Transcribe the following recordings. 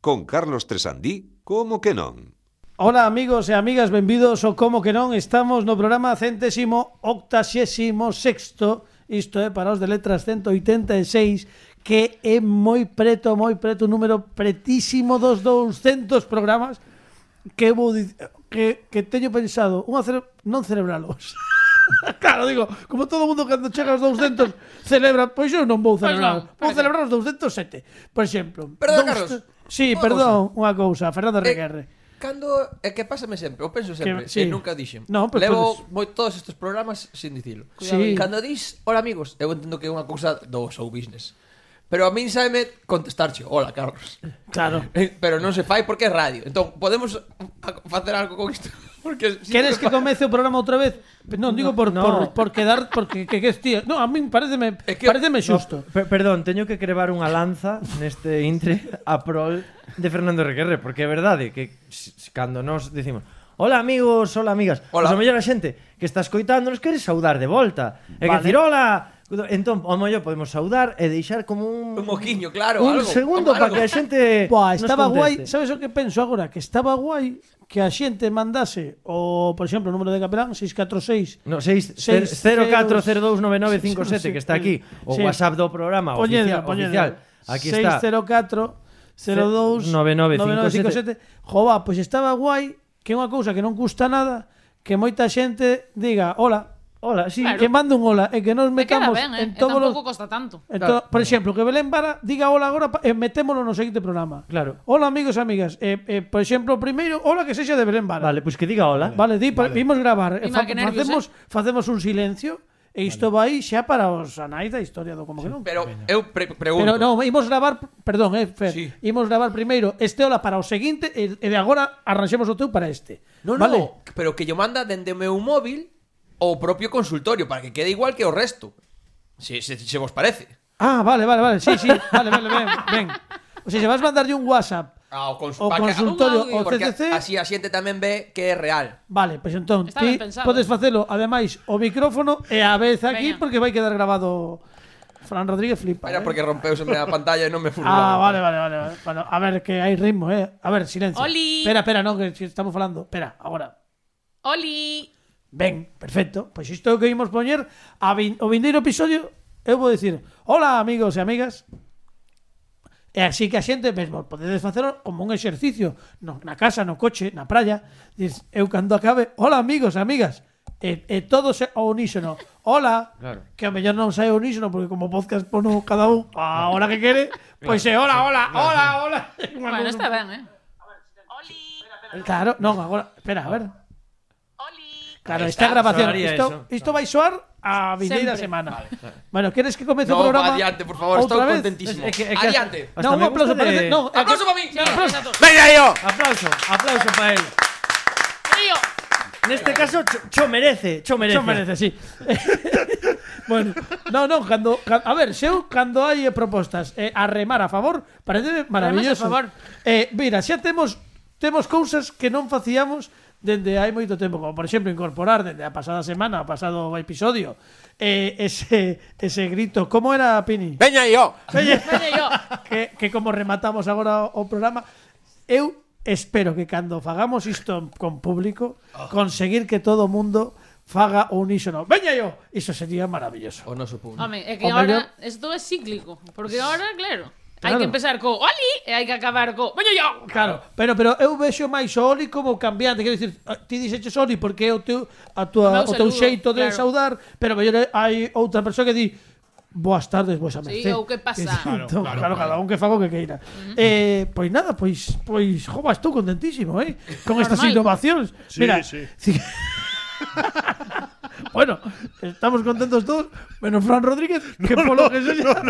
con Carlos Tresandí, como que non? Ola amigos e amigas, benvidos ao Como que non Estamos no programa centésimo octaxésimo sexto Isto é para os de letras 186 Que é moi preto, moi preto Un número pretísimo dos 200 programas Que vou dic- que, que teño pensado unha cere Non celebralos Claro, digo, como todo mundo cando chega aos 200 celebra, pois eu non vou celebrar. non, vou parece. celebrar os 207, por exemplo. Perdón, Dous- Carlos, Sí, unha perdón, unha cousa, Eh, Fernando Requerre. Cando é que pásame sempre, eu penso sempre, que, Que- e sí. nunca dixen. No, pero Levo podes- moi todos estes programas sin dicilo. eh. Cuidado Sí. aí. Cando dis, "Hola amigos", eu entendo que é unha cousa do show business. Pero a min saeme contestarche, "Hola Carlos". Claro. Eh, Pero non se fai porque é radio. Entón, podemos a- facer algo con isto. Porque si Queres que non fa- comece o programa outra vez? Non, digo por, por, por quedar porque que, que estías. Non, a min pareceme É que- pareceme xusto. No, per- perdón, teño que crevar unha lanza neste intre a prol de Fernando Requerre, porque é verdade que s- s- cando nós dicimos Hola amigos, hola amigas. Hola. Pois o mellor a xente que está escoitando nos quere saudar de volta. E Vale. vale. decir hola. Entón, ao mellor podemos saudar e deixar como un un moquiño, claro, algo. un segundo algo. para que a xente Buah, nos estaba guai, conteste. sabes o que penso agora? Que estaba guai que a xente mandase o, por exemplo, o número de Capelán 646 No, 6 Seis, 04029997 que está aquí, o Sí. WhatsApp do programa Poñedlo, oficial, poñedlo. oficial. Aquí está. 604 02 9957. 9957. Jova, pois estaba guai que é unha cousa que non custa nada que moita xente diga hola, Hola, sí, que mande un hola e que nos Me queda metamos ben, eh? en En todos tampouco los costa tanto. Entón, por exemplo, que Belén Vara diga hola agora pa- eh, e metémolo no seguinte programa. Claro. Hola amigos e amigas. Eh, eh, por exemplo, o primeiro, hola que sexa de Belén Vara. Vale, pois que diga hola. Vale, di, vale. vimos gravar. Eh, Ima, que nervios, facemos, facemos un silencio e isto vai xa para os anais da historia do como que non. Pero eu pre pregunto. Pero non, imos gravar, perdón, eh, Fer, Sí. imos gravar primeiro este hola para o seguinte e, e de agora arranxemos o teu para este. No, vale? no, pero que yo manda dende o meu móvil o propio consultorio para que quede igual que o resto. Se, se, se vos parece. Ah, vale, vale, vale, sí, sí, vale, vale, ben, ben. O sea, se vas mandarlle un WhatsApp Ao cons O Ah, pa que- un consultorio, audio, o porque CCC. Así a xente tamén ve que é real. Vale, pois entón, Está ti ben pensado. podes facelo, ademais, o micrófono e a vez aquí Veña. porque vai quedar grabado Fran Rodríguez flipa. Era eh. porque rompeuse a pantalla e non me furgou. Ah, vale, vale, vale, vale. Bueno, a ver que hai ritmo, eh. A ver, silencio. Oli. Espera, espera, non que si estamos falando. Espera, agora. Oli, Ben, perfecto. Pois isto é o que imos poñer a vin, o vindeiro episodio eu vou dicir, "Hola, amigos e amigas." E así que a xente mesmo podedes facelo como un exercicio no, na casa, no coche, na praia. Diz, eu cando acabe, hola amigos e amigas. E, e todos ao unísono. Hola. Claro. Que a mellor non sai ao unísono porque como podcast pono cada un a hora que quere, pois é Pues hola, hola, hola, hola. Unha bueno, cousa- está ben, eh? Claro, non, agora, espera, a ver. Claro, Ahí esta está, grabación, sonaría isto, eso. isto vai soar a vindeira Sempre. semana. Bueno, queres que comece No, o Este programa? va adiante, por favor, outra estou vez? contentísimo. Es que- es que- adiante. Hasta Non, un me aplauso gusta para de- este de... non, é que- Aplauso para min. Sí, aplauso a todos. Aplauso, aplauso para él. Tío, Neste caso, cho, cho merece, cho merece. Xo merece, sí. bueno, no, no, cando, ca- a ver, xeu cando hai eh, propostas eh, a remar a favor, parece a maravilloso. favor. Eh, mira, xa temos temos cousas que non facíamos dende hai moito tempo, como por exemplo incorporar dende a pasada semana, o pasado episodio, eh, ese ese grito, como era Pini? Veña yo. Oye, vene yo. que, que como rematamos agora o, o programa Eu espero que cando fagamos isto con público Ah. Conseguir que todo o mundo faga o unísono Veña yo, iso sería maravilloso O noso público. Home, é que O ahora isto é cíclico, porque ahora, claro, hai Claro. que empezar co Oli e hai que acabar co Veño yo. Claro, pero pero eu vexo máis o Oli como cambiante, quero dicir, a- ti dixeches Oli porque é o teu a tua O meu o, teu saludo, xeito de claro. saudar, pero mellor hai outra persoa que di Boas tardes, boas a Sí, merced. ou que pasa. Claro, claro, claro, cada un que fago que queira. eh, pois nada, pois pois jova, estou contentísimo, eh, con estas Normal. innovacións. Sí, Mira, sí. ci- bueno, estamos contentos todos, menos Fran Rodríguez, que polo que sexa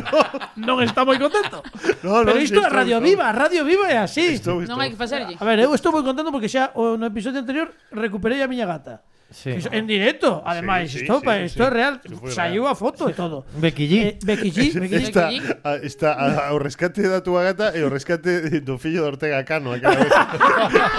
non está moi contento. No, no, Pero sí, isto é estou- Radio estou- Viva, Radio Viva é así. Estou, estou. Non hai que facerlle. A ver, eu estou moi contento porque xa o- no episodio anterior recuperei a miña gata. Sí. Iso- En directo, ademais, sí, isto, sí, pa- sí, isto é sí. real, Isto foi saiu a foto e todo. Becky G. Eh, Becky G, Becky G. Está, Aquí. a- está a- ao rescate da túa gata e o rescate do fillo de Ortega Cano aquela vez.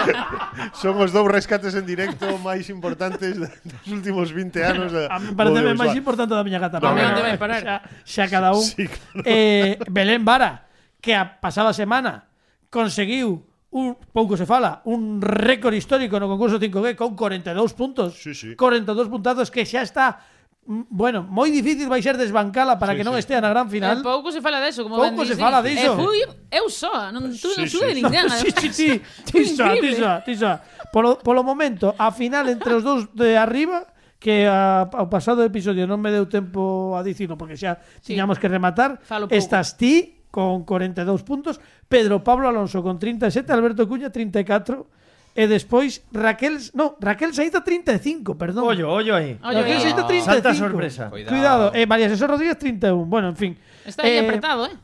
Son os dous rescates en directo máis importantes da- dos últimos 20 anos da, A mí pareceme do máis audiovisual. importante da miña gata. No, pero no, bueno, no vai parar. Xa, xa cada un. Sí, claro. eh, Belén Vara, que a pasada semana conseguiu un pouco se fala, un récord histórico no concurso 5G con 42 puntos. Sí, sí. 42 puntazos que xa está mm, Bueno, moi difícil vai ser desbancala para Sí, que non sí. estea na gran Eh, final. pouco se fala deso, como ben Pouco se dicís. fala E diso. fui eu soa, non tú non Sí, sí. sube ninguén. sí, sí, sí. Ti xa, ti xa, ti xa. Polo, polo momento, a final entre os dous de arriba, que a, ao pasado episodio non me deu tempo a dicilo, porque xa Sí. tiñamos que rematar, Falo pouco. estás ti con 42 puntos, Pedro Pablo Alonso con 37, Alberto Cuña 34, e despois Raquel, no, Raquel Saída 35, perdón. Ollo, ollo aí. Ollo, Raquel ollo. Saída 35. Salta sorpresa. Cuidado. Cuidado. Eh, María Jesús Rodríguez 31. Bueno, en fin. Está aí Eh, apretado, eh?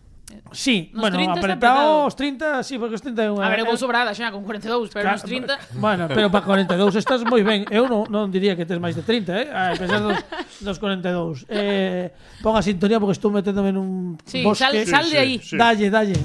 Sí, Nos bueno, 30 está apretado apretado. os 30, sí, porque os 31. A ver, eu vou Eh, sobrada xa con 42, pero Ca- nos 30... Bueno, pero para 42 estás moi ben. Eu non, non diría que tes máis de 30, eh? A pesar dos, dos 42. Eh, pon a sintonía porque estou meténdome nun Sí, bosque. sal, sal Sí, de sí, aí. sí. Dalle, dalle.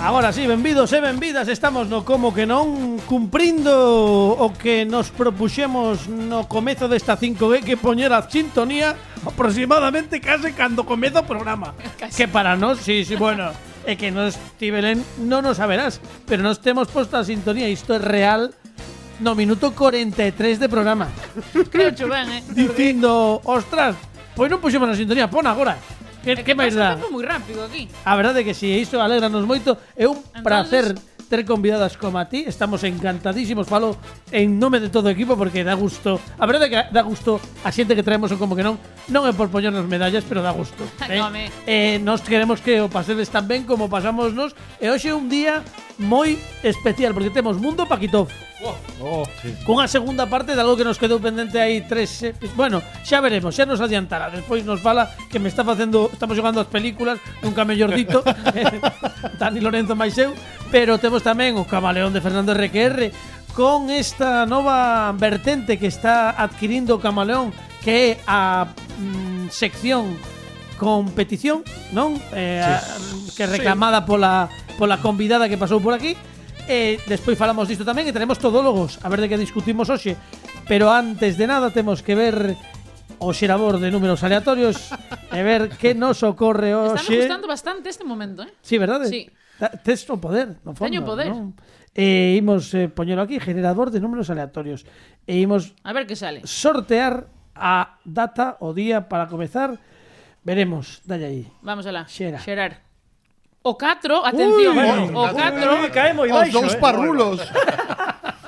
Agora sí, benvidos e benvidas Estamos no como que non Cumprindo o que nos propuxemos No comezo desta 5G Que poñer a sintonía Aproximadamente case cando comeza o programa Que para nós, sí, sí, bueno É que nos, ti Belén, non nos saberás Pero nos temos posto a sintonía Isto é real No minuto 43 de programa Creo que ben, eh? Dicindo, ostras Pois non puxemos a sintonía, pon agora Que, que máis dá? Foi moi rápido aquí. A verdade é que si, e iso alégranos moito. É un Entonces- placer ter convidadas como a ti. Estamos encantadísimos, falo en nome de todo o equipo porque dá gusto. A verdade é que dá gusto a xente que traemos ou como que non, non é por poñernos medallas, pero dá gusto. Ay, home. eh, nos queremos que o pasedes tan ben como pasamos nos e hoxe é un día moi especial porque temos Mundo Paquitov Oh, cunha segunda parte de algo que nos quedou pendente aí tres eh, bueno, xa veremos, xa nos adiantará despois nos fala que me está facendo estamos xogando as películas, nunca mellor dito eh, Dani Lorenzo máis eu pero temos tamén o camaleón de Fernando RQR con esta nova vertente que está adquirindo o camaleón que é a mm, sección competición, non? Eh, a- que reclamada pola pola convidada que pasou por aquí. Eh, despois falamos disto tamén e teremos todólogos, a ver de que discutimos hoxe. Pero antes de nada temos que ver o xerador de números aleatorios e ver que nos ocorre Estame hoxe. gustando bastante este momento, eh? Sí, verdade? Sí. Ta- Tes o poder, no fondo. Teño poder. non? E imos eh, poñelo aquí, generador de números aleatorios. E imos A ver que sale. sortear a data o día para comezar. Veremos, dalle aí. Vamos alá. Xera. Xerar. O 4, atención. eh. Ui, o ui, 4, cae Oh, moi Os dous eh. parrulos.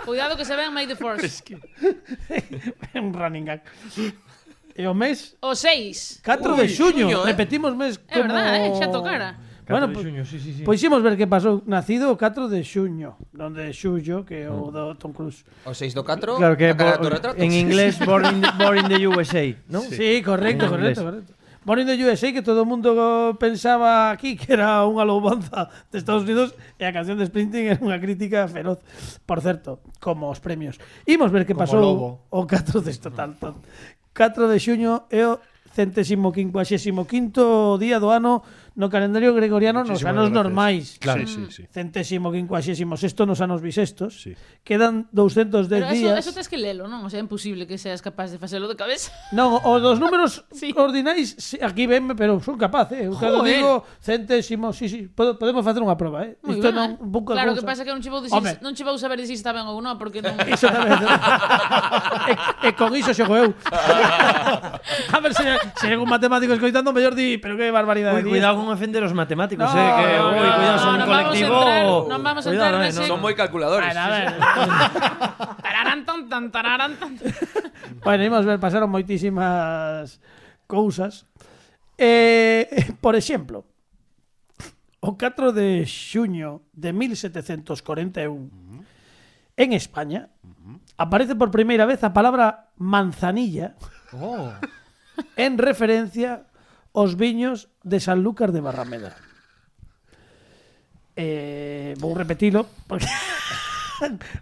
cuidado que se vean May the Force. un running gag. E o mes O 6. 4 Ui, de xuño, xuño, eh. repetimos mes É como... verdad, eh? Xa tocara. Bueno, Catro de pois xuño, sí, sí, sí. pois imos ver que pasou nacido o 4 de xuño, donde xullo que é Mm. o do Tom Cruise. O 6 do 4, Claro que é cara bo- do retrato. en inglés born in, the, born in the USA, non? Sí, correcto, En correcto, inglés. correcto. Born in the USA que todo o mundo pensaba aquí que era unha loubanza de Estados Unidos e a canción de Sprinting era unha crítica feroz, por certo, como os premios. Imos ver que Como pasou lobo. o 4 de total. 4 de xuño é o centésimo quincuaxésimo quinto día do ano no calendario gregoriano nos Muchísimas anos gracias. normais. Claro. Sí, sí, sí. Centésimo quincuaxésimo sexto nos anos bisestos. Sí. Quedan 210 Pero eso, días. eso tes que lelo, non? O sea, é imposible que seas capaz de facelo de cabeza. Non, o dos números Sí. ordinais sí, aquí venme, pero son capaz, eh. Eu cando Joder. digo centésimo, sí, sí, podo, podemos facer unha proba, eh. Moi Isto ben, non eh? un pouco Claro, cousa. que pasa que non che vou dicir, Home. non che vou saber dicir se está ben ou non, porque non... Iso tamén. e, e con iso xogo eu. A ver se se algún matemático escoitando mellor di, pero que barbaridade. Ui, di cuidado con ofender os matemáticos, No, eh, que no, ui, no, cuidado, son no un vamos a colectivo. entrar, no vamos a entrar Cuidado, eh, nese- no- Son moi calculadores. Bueno, a ver. Tararán, tan, tan, tararán, tan. bueno, imos ver, pasaron moitísimas cousas. Eh, por exemplo, o 4 de xuño de 1741 en España Mm. aparece por primeira vez a palabra manzanilla Oh. en referencia aos viños de Sanlúcar de Barrameda. Eh, vou repetilo porque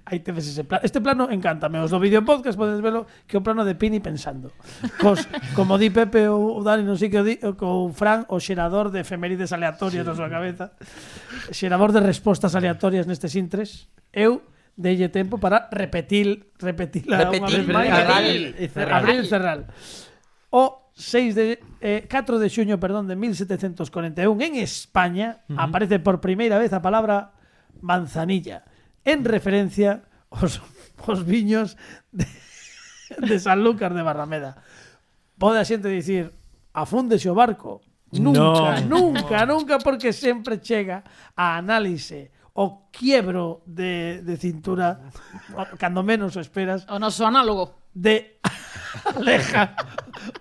Aí tedes ese plano. Este plano encántame. Os do vídeo podcast podedes velo que é o plano de Pini pensando. Cos, como di Pepe ou o Dani, non sei que o di, o, co Fran, o xerador de efemérides aleatorias sí. na súa cabeza. Xerador de respostas aleatorias nestes intres. Eu delle tempo para repetir, repetila unha Repetir, vez máis. repetir. y cerrar. Abril Cerral. O 6 de eh, 4 de xuño, perdón, de 1741 en España aparece por primeira vez a palabra manzanilla en referencia aos, aos viños de, de Sanlúcar de Barrameda. Pode a xente dicir, afúndese o barco. Nunca, nunca, nunca, porque sempre chega a análise o quiebro de, de cintura cando menos o esperas O noso análogo. de Aleja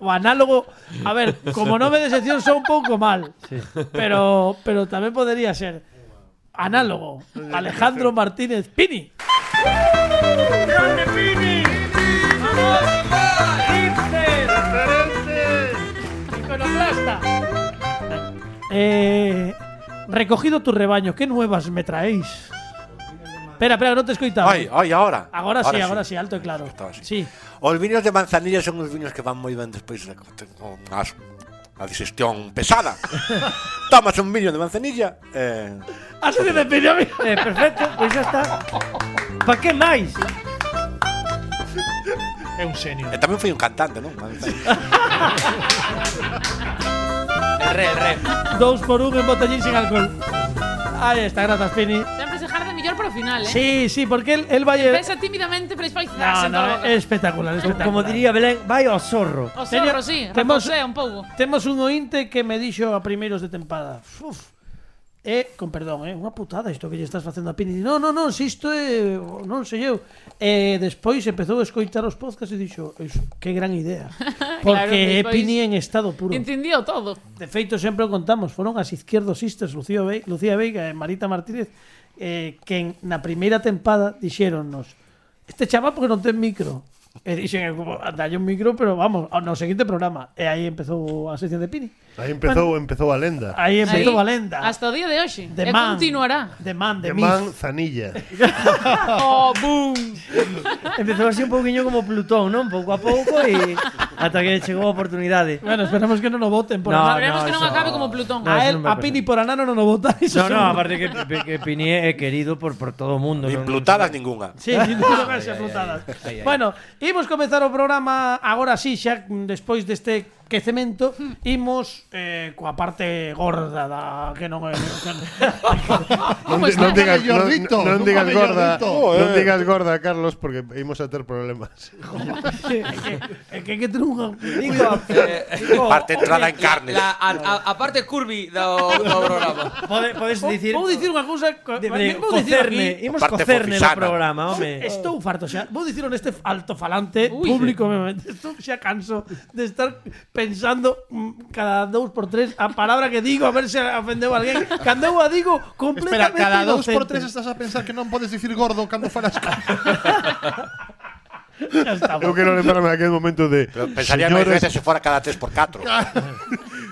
o análogo. A ver, como nome de sección son un pouco mal, pero pero tamén podería ser análogo. Alejandro Martínez Pini. Iconoclasta. Eh, recogido tu rebaño, ¿qué nuevas me traéis? Espera, espera, que no te he escuchado. Ay, ay, ahora. Ahora sí, ahora sí, alto y claro. Estaba así. Sí. Os viños de manzanilla son os viños que van moi ben despois de con as a digestión pesada. Tomas un viño de manzanilla eh, Ah, sí, de Pini, amigo. Eh, perfecto, pois xa está. Pa que máis? É un senio. e tamén foi un cantante, non? El re, el re. Dos por un en botellín sin alcohol. Ahí está, gracias, Pini. Sempre se jarda mellor para o final, eh? Sí, sí, porque él, él va a ir. Pensa tímidamente, pero despois No, no, es espectacular, es espectacular. Como diría Belén, vai ao zorro. O Señor, zorro, sí, temos- reposea un pouco. Temos un ointe que me dixo a primeiros de tempada. Uf. Eh, con perdón, é eh, unha putada isto que lle estás facendo a Pini. Di, No, no, no, si isto é, non sei eu. Eh, despois empezou a escoitar os podcasts e dixo, "Is- que gran idea. Porque é despois- Pini en estado puro. Entendido todo. De feito, sempre o contamos, foron as Izquierdo Sisters, Lucía, Ve Lucía Veiga e Marita Martínez, eh, que en, na primeira tempada dixéronnos este chaval porque non ten micro. E dixen, eh, como, dalle un micro, pero vamos, ao- no seguinte programa. E aí empezou a sección de Pini. Aí empezou, empezou a lenda. Aí empezou Aí, a lenda. Hasta o día de hoxe. De e man. continuará. De man, De de, mí. manzanilla. Oh, boom. Empezou así un pouquiño como Plutón, non? Pouco a pouco e ata que chegou a oportunidade. Bueno, esperamos que non o voten por No, anano. Esperemos que non eso- acabe como Plutón. No, a eso él, non a vai pasar. Pini por anano non o votan. Eso No, no, seguro. aparte que, que, que Piné é querido por, por todo o mundo. Ah. Nin non- plutadas ningunha. Sí, sin duda que se afrontadas. Bueno, imos comezar o programa agora sí, xa mm, despois deste quecemento, imos eh, coa parte gorda da que non é que non- Como Non, di- non está? digas, Come non, Jorrito, non come digas gorda, Jorrito. non digas gorda, Carlos, porque ímos a ter problemas. é que é que ter unha Digo, digo, Parte entrada en carnes. La, a, a, a parte curvy do, do programa. pode, podes dicir... Vou Oh, dicir unha cousa, co- de, de, vou co dicir cerne, aquí, imos Parte co cerne do fofisana. Oh, programa, home. Estou farto xa. Vou dicir neste altofalante Ui. este público, obviamente. Estou xa canso de estar pensando mm, cada dous por tres a palabra que digo a ver se ofendeu a alguén. Cando eu a digo Espera, completamente cada dous inocente. por tres estás a pensar que non podes dicir gordo cando falas Xa estamos. Eu quero lembrarme daquel momento de Pero pensaría máis señoras, veces se fora cada 3x4. Ah.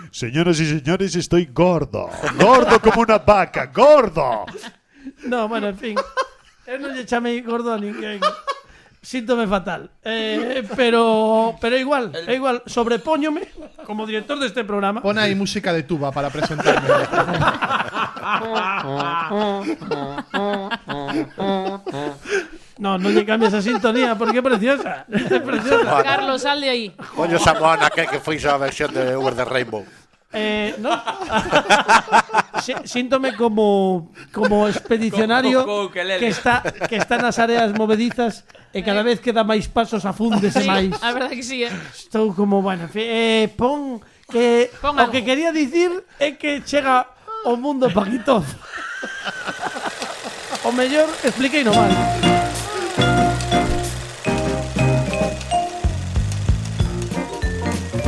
señoras y señores, estoy gordo. Gordo como una vaca, gordo. No, bueno, en fin. Eu non lle chamei gordo a ninguén. Síntome fatal. Eh, pero pero é igual, é igual, sobrepóñome como director deste programa. Pon aí música de tuba para presentarme. Ah. No, non lle cambies a sintonía porque é preciosa. É preciosa. Carlos, sal de aí. Coño Samoana que que foi a versión de Over the Rainbow. Eh, no. Sí- Síntome como como expedicionario Co- co- co ukelele. que está que está nas áreas movedizas e cada vez que dá máis pasos afúndese Sí, máis. a verdade que sí, eh. Estou como, bueno, en fin, eh, pon que Pon o algo. que quería dicir é que chega o mundo Paquitov. o mellor expliquei no mal.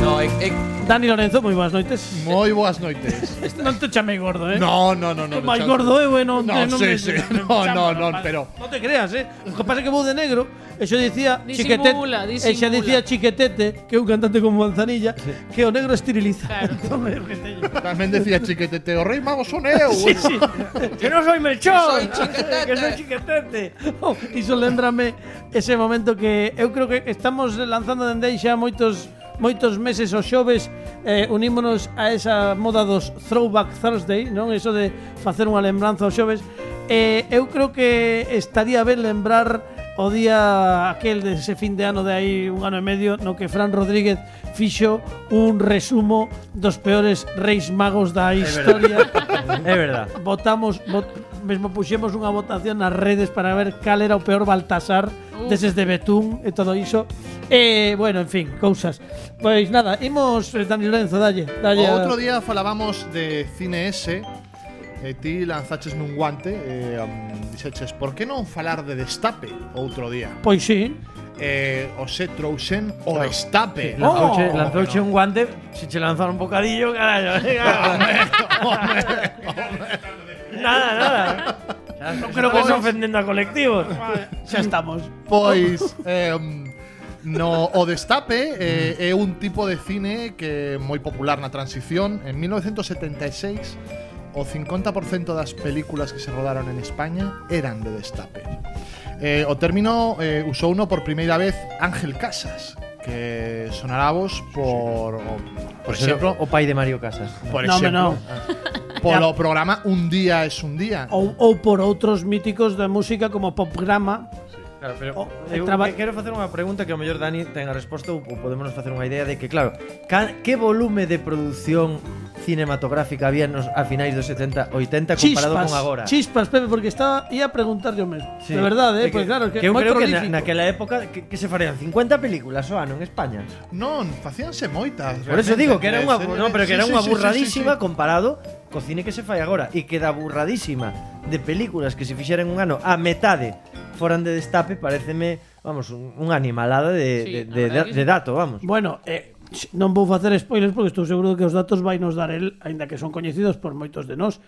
No, No, é- é- Dani Lorenzo, moi boas noites. Moi boas noites. Non te chamei gordo, eh? No, no, no, no. máis xa- gordo eu, eh? Non, No, te- non sí, me- sí. me- No, chamo, no, no, vale. pero- Non te creas, eh? O que pasa é que vou de negro, e xo dicía chiquetete, Disimula, e disimula. xa dicía chiquetete, que é un cantante como Manzanilla, que o negro esteriliza. Claro. Entón, é o que teño. Tamén decía chiquetete, o rei mago son eu. Sí, sí. ¡Que no soy Melchor! Soy Chiquetete. ¡Que soy Chiquetete! Oh, iso lembrame ese momento que eu creo que estamos lanzando dende aí xa moitos moitos meses os xoves eh, unímonos a esa moda dos Throwback Thursday, non? Eso de facer unha lembranza aos xoves. Eh, eu creo que estaría ben lembrar o día aquel de ese fin de ano de aí un ano e medio no que Fran Rodríguez fixo un resumo dos peores reis magos da historia. Es verdad. votamos vot- mesmo puxemos unha votación nas redes para ver cal era o peor Baltasar deses de Betún e todo iso. E, bueno, en fin, cousas. Pois nada, imos eh, Dani Lorenzo, dalle, O dalle. a- outro día falábamos de cine S e ti lanzaches nun guante e um, dixeches, por que non falar de destape outro día? Pois sí. E os se trouxen o destape. Lanzouche, Oh. lanzouche un guante, se che lanzaron un bocadillo, carallo. nada, nada. No creo que se ofendiendo a colectivos. Xa estamos. Pois em, no o destape eh, Mm. é un tipo de cine que é moi popular na transición. En 1976 e o 50% das películas que se rodaron en España eran de destape. Eh, o término eh, usou uno por primeira vez Ángel Casas, que sonará a vos por o, por exemplo, o pai de Mario Casas. por No, hombre, exemplo, Ah. polo programa Un día es un día. Ou, ou por outros míticos da música como Popgrama. Claro, pero Oh, eu traba- que- quero facer unha pregunta que ao mellor Dani ten a resposta ou podemos facer unha idea de que, claro, ca, que volume de produción cinematográfica había nos, a finais dos 70, 80 comparado Chispas. con agora? Chispas, Pepe, porque estaba ia a preguntarlle o mesmo. Sí. De verdade, eh? É pois claro, que, eu moi creo que na, prolífico. naquela época que, que se farían 50 películas o ano en España. Non, facíanse moitas. Por Pues eso realmente. digo que era unha, Eh, no, pero que sí, era sí, unha sí, sí, burradísima sí, sí. comparado co cine que se fai agora e que da burradísima de películas que se fixeran un ano a metade foran de destape, pareceme, vamos, un- unha animalada de, Sí, la de, de, verdad que de sí. dato, vamos. Bueno, eh, ch- non vou facer spoilers porque estou seguro de que os datos vai nos dar el, aínda que son coñecidos por moitos de nós,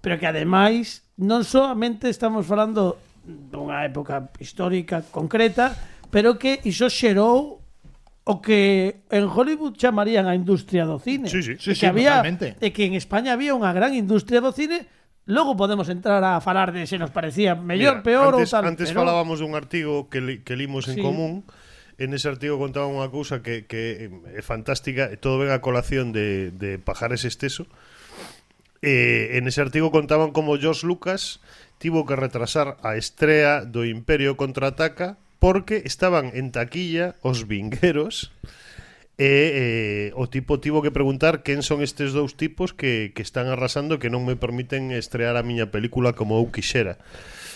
pero que ademais non solamente estamos falando dunha época histórica concreta, pero que iso xerou o que en Hollywood chamarían a industria do cine. Sí, sí. Sí, E que sí, había, totalmente. e que en España había unha gran industria do cine, logo podemos entrar a falar de se nos parecía mellor, Mira, peor antes, ou tal. Antes pero- falábamos dun artigo que, li, que limos en Sí. común En ese artigo contaba unha cousa que, que eh, é fantástica e Todo ven a colación de, de Pajares Esteso eh, En ese artigo contaban como George Lucas Tivo que retrasar a estrea do Imperio Contraataca Porque estaban en taquilla os vingueros E eh, o tipo tivo que preguntar quen son estes dous tipos que, que están arrasando e que non me permiten estrear a miña película como eu quixera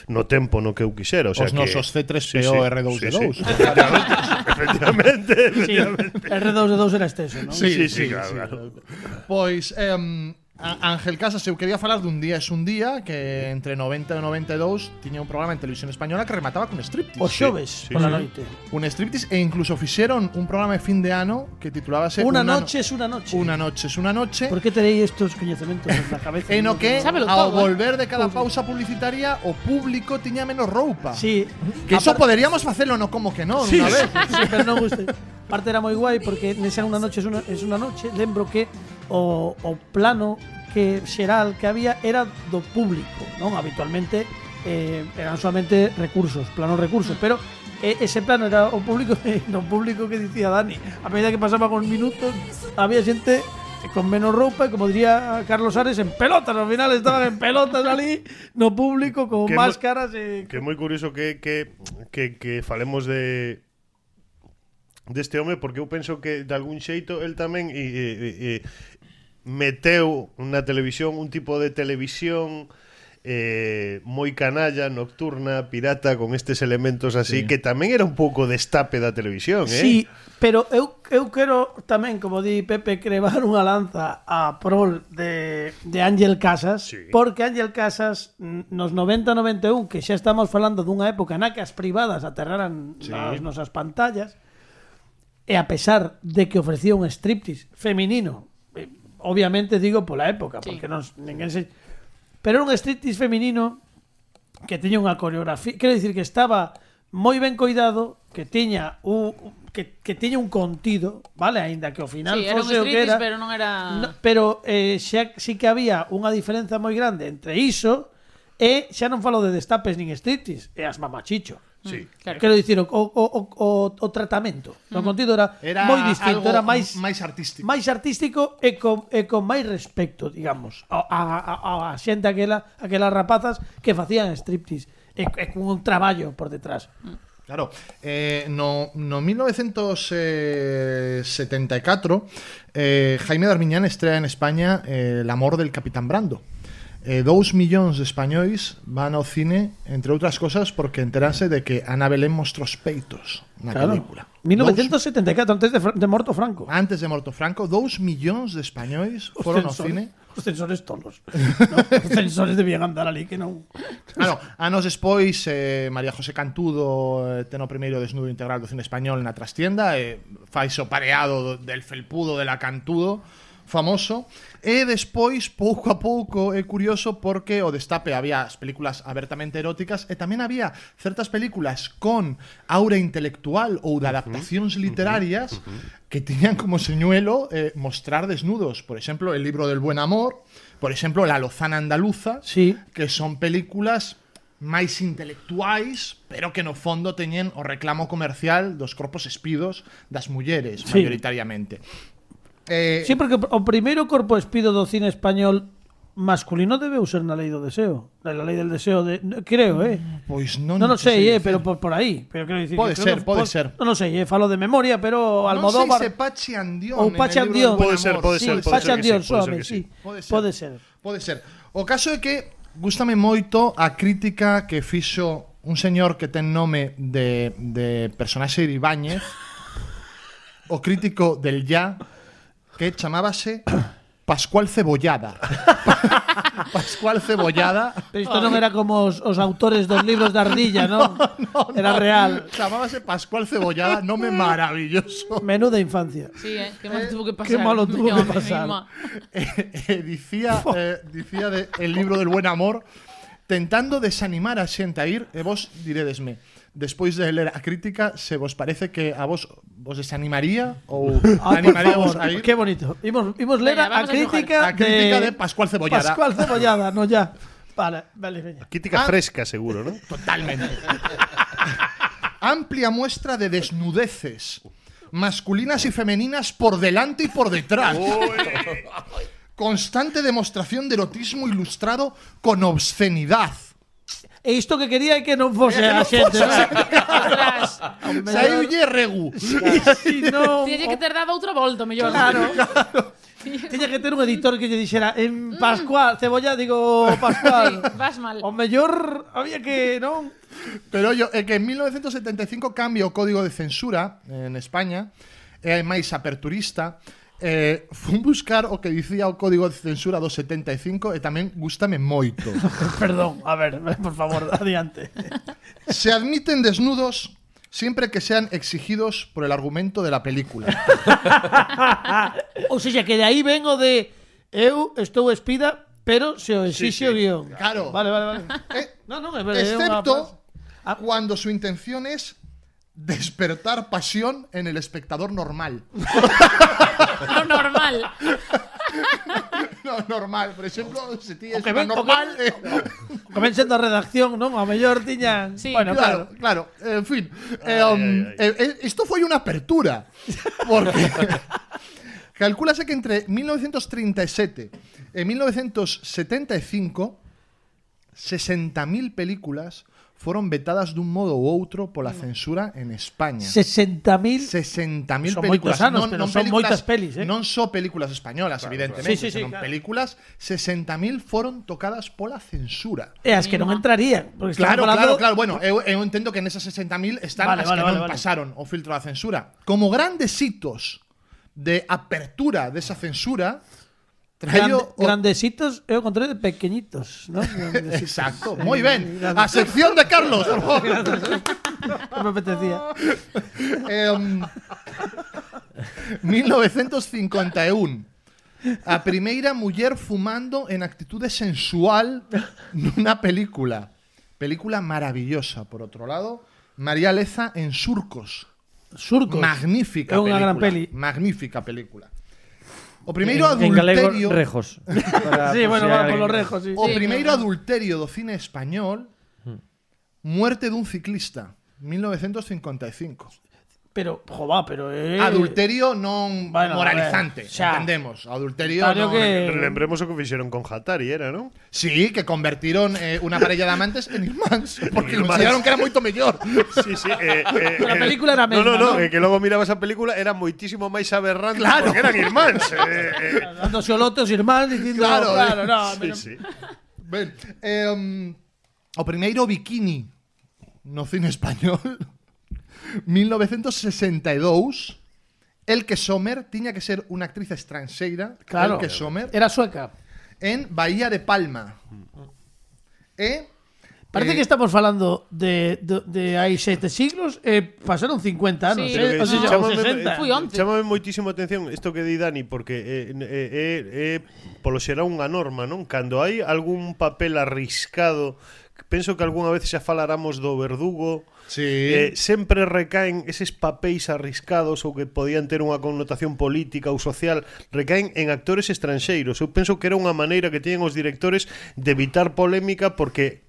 no tempo no que eu quixera, o sea que Os nosos C3PO R2D2. Efectivamente, Sí, efectivamente. R2D2 era exceso, ¿no? Sí, sí, claro, claro. Pois em, a- Ángel Casas, eu quería falar dun día es un día que entre 90 e 92 tiña un programa en televisión española que remataba con striptease. Os xoves sí, pola sí. noite. Un striptease e incluso fixeron un programa de fin de ano que titulábase Una Un noche ano- es una noche. Una noche es una noche. ¿Por qué tenéis estos coñecementos en la cabeza? En o que Sábelo todo, ao eh. volver de cada pausa publicitaria o público tiña menos roupa. Sí. Que iso Aparte- poderíamos facelo no como que non, Sí, unha vez. sí, pero non guste. Parte era moi guai porque nesa unha noche es una, es una noche, lembro que o, o plano que xeral que había era do público, non? Habitualmente eh, eran solamente recursos, planos recursos, pero eh, ese plano era o público, e no público que dicía Dani. A medida que pasaba con minutos, había xente con menos roupa e como diría Carlos Ares en pelotas, ao final estaban en pelotas ali no público con Que mo- máscaras e Que é moi curioso que, que, que, que falemos de deste home porque eu penso que de algún xeito el tamén e, e, e, e meteu na televisión un tipo de televisión eh, moi canalla, nocturna, pirata con estes elementos así sí. que tamén era un pouco destape da televisión, Sí, eh? pero eu, eu quero tamén, como di Pepe, crevar unha lanza a prol de, de Ángel Casas, Sí. porque Ángel Casas mm, nos 90-91, que xa estamos falando dunha época na que as privadas aterraran nas nosas pantallas, e a pesar de que ofrecía un striptease feminino, eh, obviamente digo pola época, Sí. porque non, ninguén se... Pero era un striptease feminino que tiña unha coreografía, quero dicir que estaba moi ben coidado, que tiña un que, que tiña un contido, vale, aínda que ao final Sí, era un fose o que striptease, era, pero non era... Ah. No, pero eh, xa, sí que había unha diferenza moi grande entre iso e xa non falo de destapes nin striptease, e as mamachicho. Sí. Claro. Quero dicir, o, o, o, o, o tratamento do contido era, Era moi distinto, algo era máis máis artístico. máis artístico e con, e con máis respecto, digamos, a, a, a, a xente aquela, aquelas rapazas que facían striptease e, e cun traballo por detrás. Claro, eh, no, no eh, 1974 eh, Jaime Darmiñán estrela en España eh, El amor del Capitán Brando. Eh, dous millóns de españois van ao cine, entre outras cosas, porque enterarse de que Ana Belén mostrou os peitos na Claro. película. Dous- 1974, antes de, Fra- de Morto Franco. antes de Morto Franco, dous millóns de españois Os foron ao censores- cine. Os censores tolos. No, os censores debían andar ali que non. Claro, anos Ah, despois eh, María José Cantudo eh, ten o primeiro desnudo integral do cine español na trastienda eh, fai o pareado do, del felpudo de la Cantudo famoso e despois pouco a pouco é curioso porque o destape había as películas abertamente eróticas e tamén había certas películas con aura intelectual ou de adaptacións literarias que tiñan como señuelo eh, mostrar desnudos, por exemplo, El libro del buen amor, por exemplo, La lozana andaluza, Sí. que son películas máis intelectuais, pero que no fondo teñen o reclamo comercial dos corpos espidos das mulleres, Sí. mayoritariamente. Eh, Sí, porque o primeiro corpo espido do cine español masculino debeu ser na Lei do Deseo. Na Lei del Deseo, de, creo, eh. Pois Non, non, non o te sei, eh, dicir. pero por, por aí. Pero quero dicir Pode que ser, creo que pode po- ser. Non o sei, eh, falo de memoria, Non pero Almodóvar... sei se Pachi Andión ou en Pachi el libro del Andión. Buen Pode ser, Amor. pode sí, ser, pode ser Pacha que sí, Dios, pode ser suave, que sí. sí. Pode ser. Pode ser. Pode ser. O caso é que gustame moito a crítica que fixo un señor que ten nome de, de personaxe de Ibáñez, o crítico del ya, que chamábase Pascual Cebollada. Pascual Cebollada. Pero isto non era como os, os autores dos libros da ardilla, non? era real. Chamábase Pascual Cebollada, nome maravilloso. Menuda infancia. Sí, eh, qué mal tuvo que pasar. qué malo tuvo Yo que a mí pasar. misma. eh, eh, dicía, eh, dicía de el libro del buen amor tentando desanimar a xente a ir e vos diredesme despois de ler a crítica se vos parece que a vos vos desanimaría ou Ah, por animaría vos a favor, ir qué bonito. Imos, imos ler Venga, a, a vamos a crítica, A crítica de Pascual Cebollada. Pascual Cebollada, no ya. Vale, vale, veña. Crítica fresca, seguro, ¿no? Ah. Totalmente. Amplia muestra de desnudeces, masculinas y femeninas por delante y por detrás. Constante demostración de erotismo ilustrado con obscenidad. E isto que quería é que non fose a xente, non? Ostras. Saúde Regu. Si non, Tiene que ter dado outra volta, mellor. Claro. tiña que ter un editor que lle dixera en Pascual, Cebolla, digo Pascual. Mm. Vas mal. O mellor había que, non? Pero yo, é que en 1975 cambia o código de censura en España, é máis aperturista, eh, fun buscar o que dicía o código de censura do 75 e tamén gustame moito. Perdón, a ver, por favor, adiante. Se admiten desnudos siempre que sean exigidos por el argumento de la película. Ou seja, que de aí vengo de eu estou espida, pero se o exixe o guión. claro. Vale, vale, vale. Eh, Non, non, é verdade. é unha excepto Ah. cuando su intención es despertar pasión en el espectador normal. Lo normal. No, normal, por ejemplo, si tienes O que una ven- o que- normal. eh, frase- Comenzando a redacción, non? A mellor tiña... Sí. bueno, claro. Claro, claro. En fin. Eh, um, eh, eh, esto fue una apertura. Porque calculase que entre 1937 y 1975, 60.000 películas fueron vetadas de un modo u otro por la Mm. censura en España. 60.000... 60.000 Son películas, moitos anos, non, pero non son películas, moitas pelis, eh. non só películas españolas, evidentemente, Sí, sí, sí, senón claro. películas, 60.000 foron tocadas pola censura. E as que non entrarían. Porque Claro, claro, estamos falando- claro. Bueno, eu, eu entendo que nesas 60.000 están Vale, as vale, que vale, non vale. pasaron o filtro da censura. Como grandes hitos de apertura desa censura, Grande- traio o- Grandecitos é o contrario de pequeñitos, non? Grandecitos. Exacto, moi ben. A sección de Carlos, por favor. Non me apetecía. Em, 1951. A primeira muller fumando en actitude sensual nunha película. Película maravillosa, por outro lado. María Leza en Surcos. Surcos. Magnífica É película. unha gran peli. Magnífica película. O primeiro en, en galego, adulterio... rejos. sí, bueno, por si va alguén- por los rejos, sí. Mm. O Sí, primeiro claro. adulterio do cine español Muerte dun ciclista 1955 Pero, jová, pero... Eh, Ah, Adulterio non Bueno, a moralizante ver, xa. Entendemos Adulterio non... Claro que- Lembremos o que fixeron con Hatari, era, non? Sí, que convertiron eh, unha parella de amantes en irmáns Porque irmáns. consideraron que era moito mellor Sí, sí. Eh, eh, Pero a eh, película era a No, mesma, no, no, non? eh, que logo mirabas a película era moitísimo máis aberrante Claro. porque eran irmáns. Eh, eh, Dándose olotos, irmáns, dicindo... Claro, Claro, eh. claro, no, sí, pero- sí. Ben, eh, um, o primeiro bikini no cine español 1962 El que Sommer tiña que ser unha actriz estranxeira Claro. El que Sommer Era sueca. en Bahía de Palma. Mm. E Parece Eh, que estamos falando de, de, de hai sete siglos e pasaron 50 anos, Sí, eh, pero que o sea, chamame- o 60. Fui once. Chámame moitísimo a atención isto que di Dani porque é eh, eh, eh, eh, polo xera unha norma, non? Cando hai algún papel arriscado, penso que algunha vez xa falaramos do verdugo, sí, Eh, sempre recaen eses papéis arriscados ou que podían ter unha connotación política ou social, recaen en actores estranxeiros. Eu penso que era unha maneira que teñen os directores de evitar polémica porque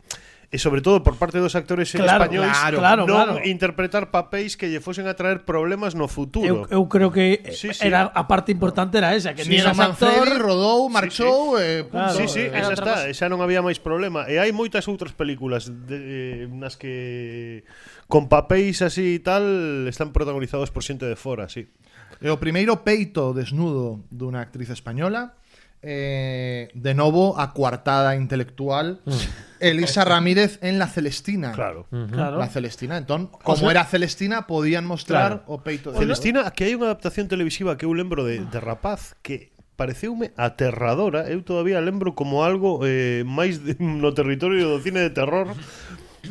e sobre todo por parte dos actores Claro, españois claro, claro, non claro. interpretar papéis que lle fosen a traer problemas no Eu, futuro. eu creo que eh, Sí, sí. era a parte importante era esa, que sí, ni eras actor, Ah, Manfredi rodou, marchou, eh, punto. Claro. Sí, sí, Era esa outra está, cosa. xa non había máis problema. E hai moitas outras películas de, eh, nas que con papéis así e tal están protagonizados por xente de fora, sí. E o primeiro peito desnudo dunha actriz española eh, de novo a coartada intelectual Mm. Elisa Ramírez en La Celestina. Claro. claro. La Celestina, entón, como era Celestina, podían mostrar o peito de Celestina, aquí hai unha adaptación televisiva que eu lembro de, de Rapaz que pareceume aterradora, eu todavía lembro como algo eh, máis de, no territorio do cine de terror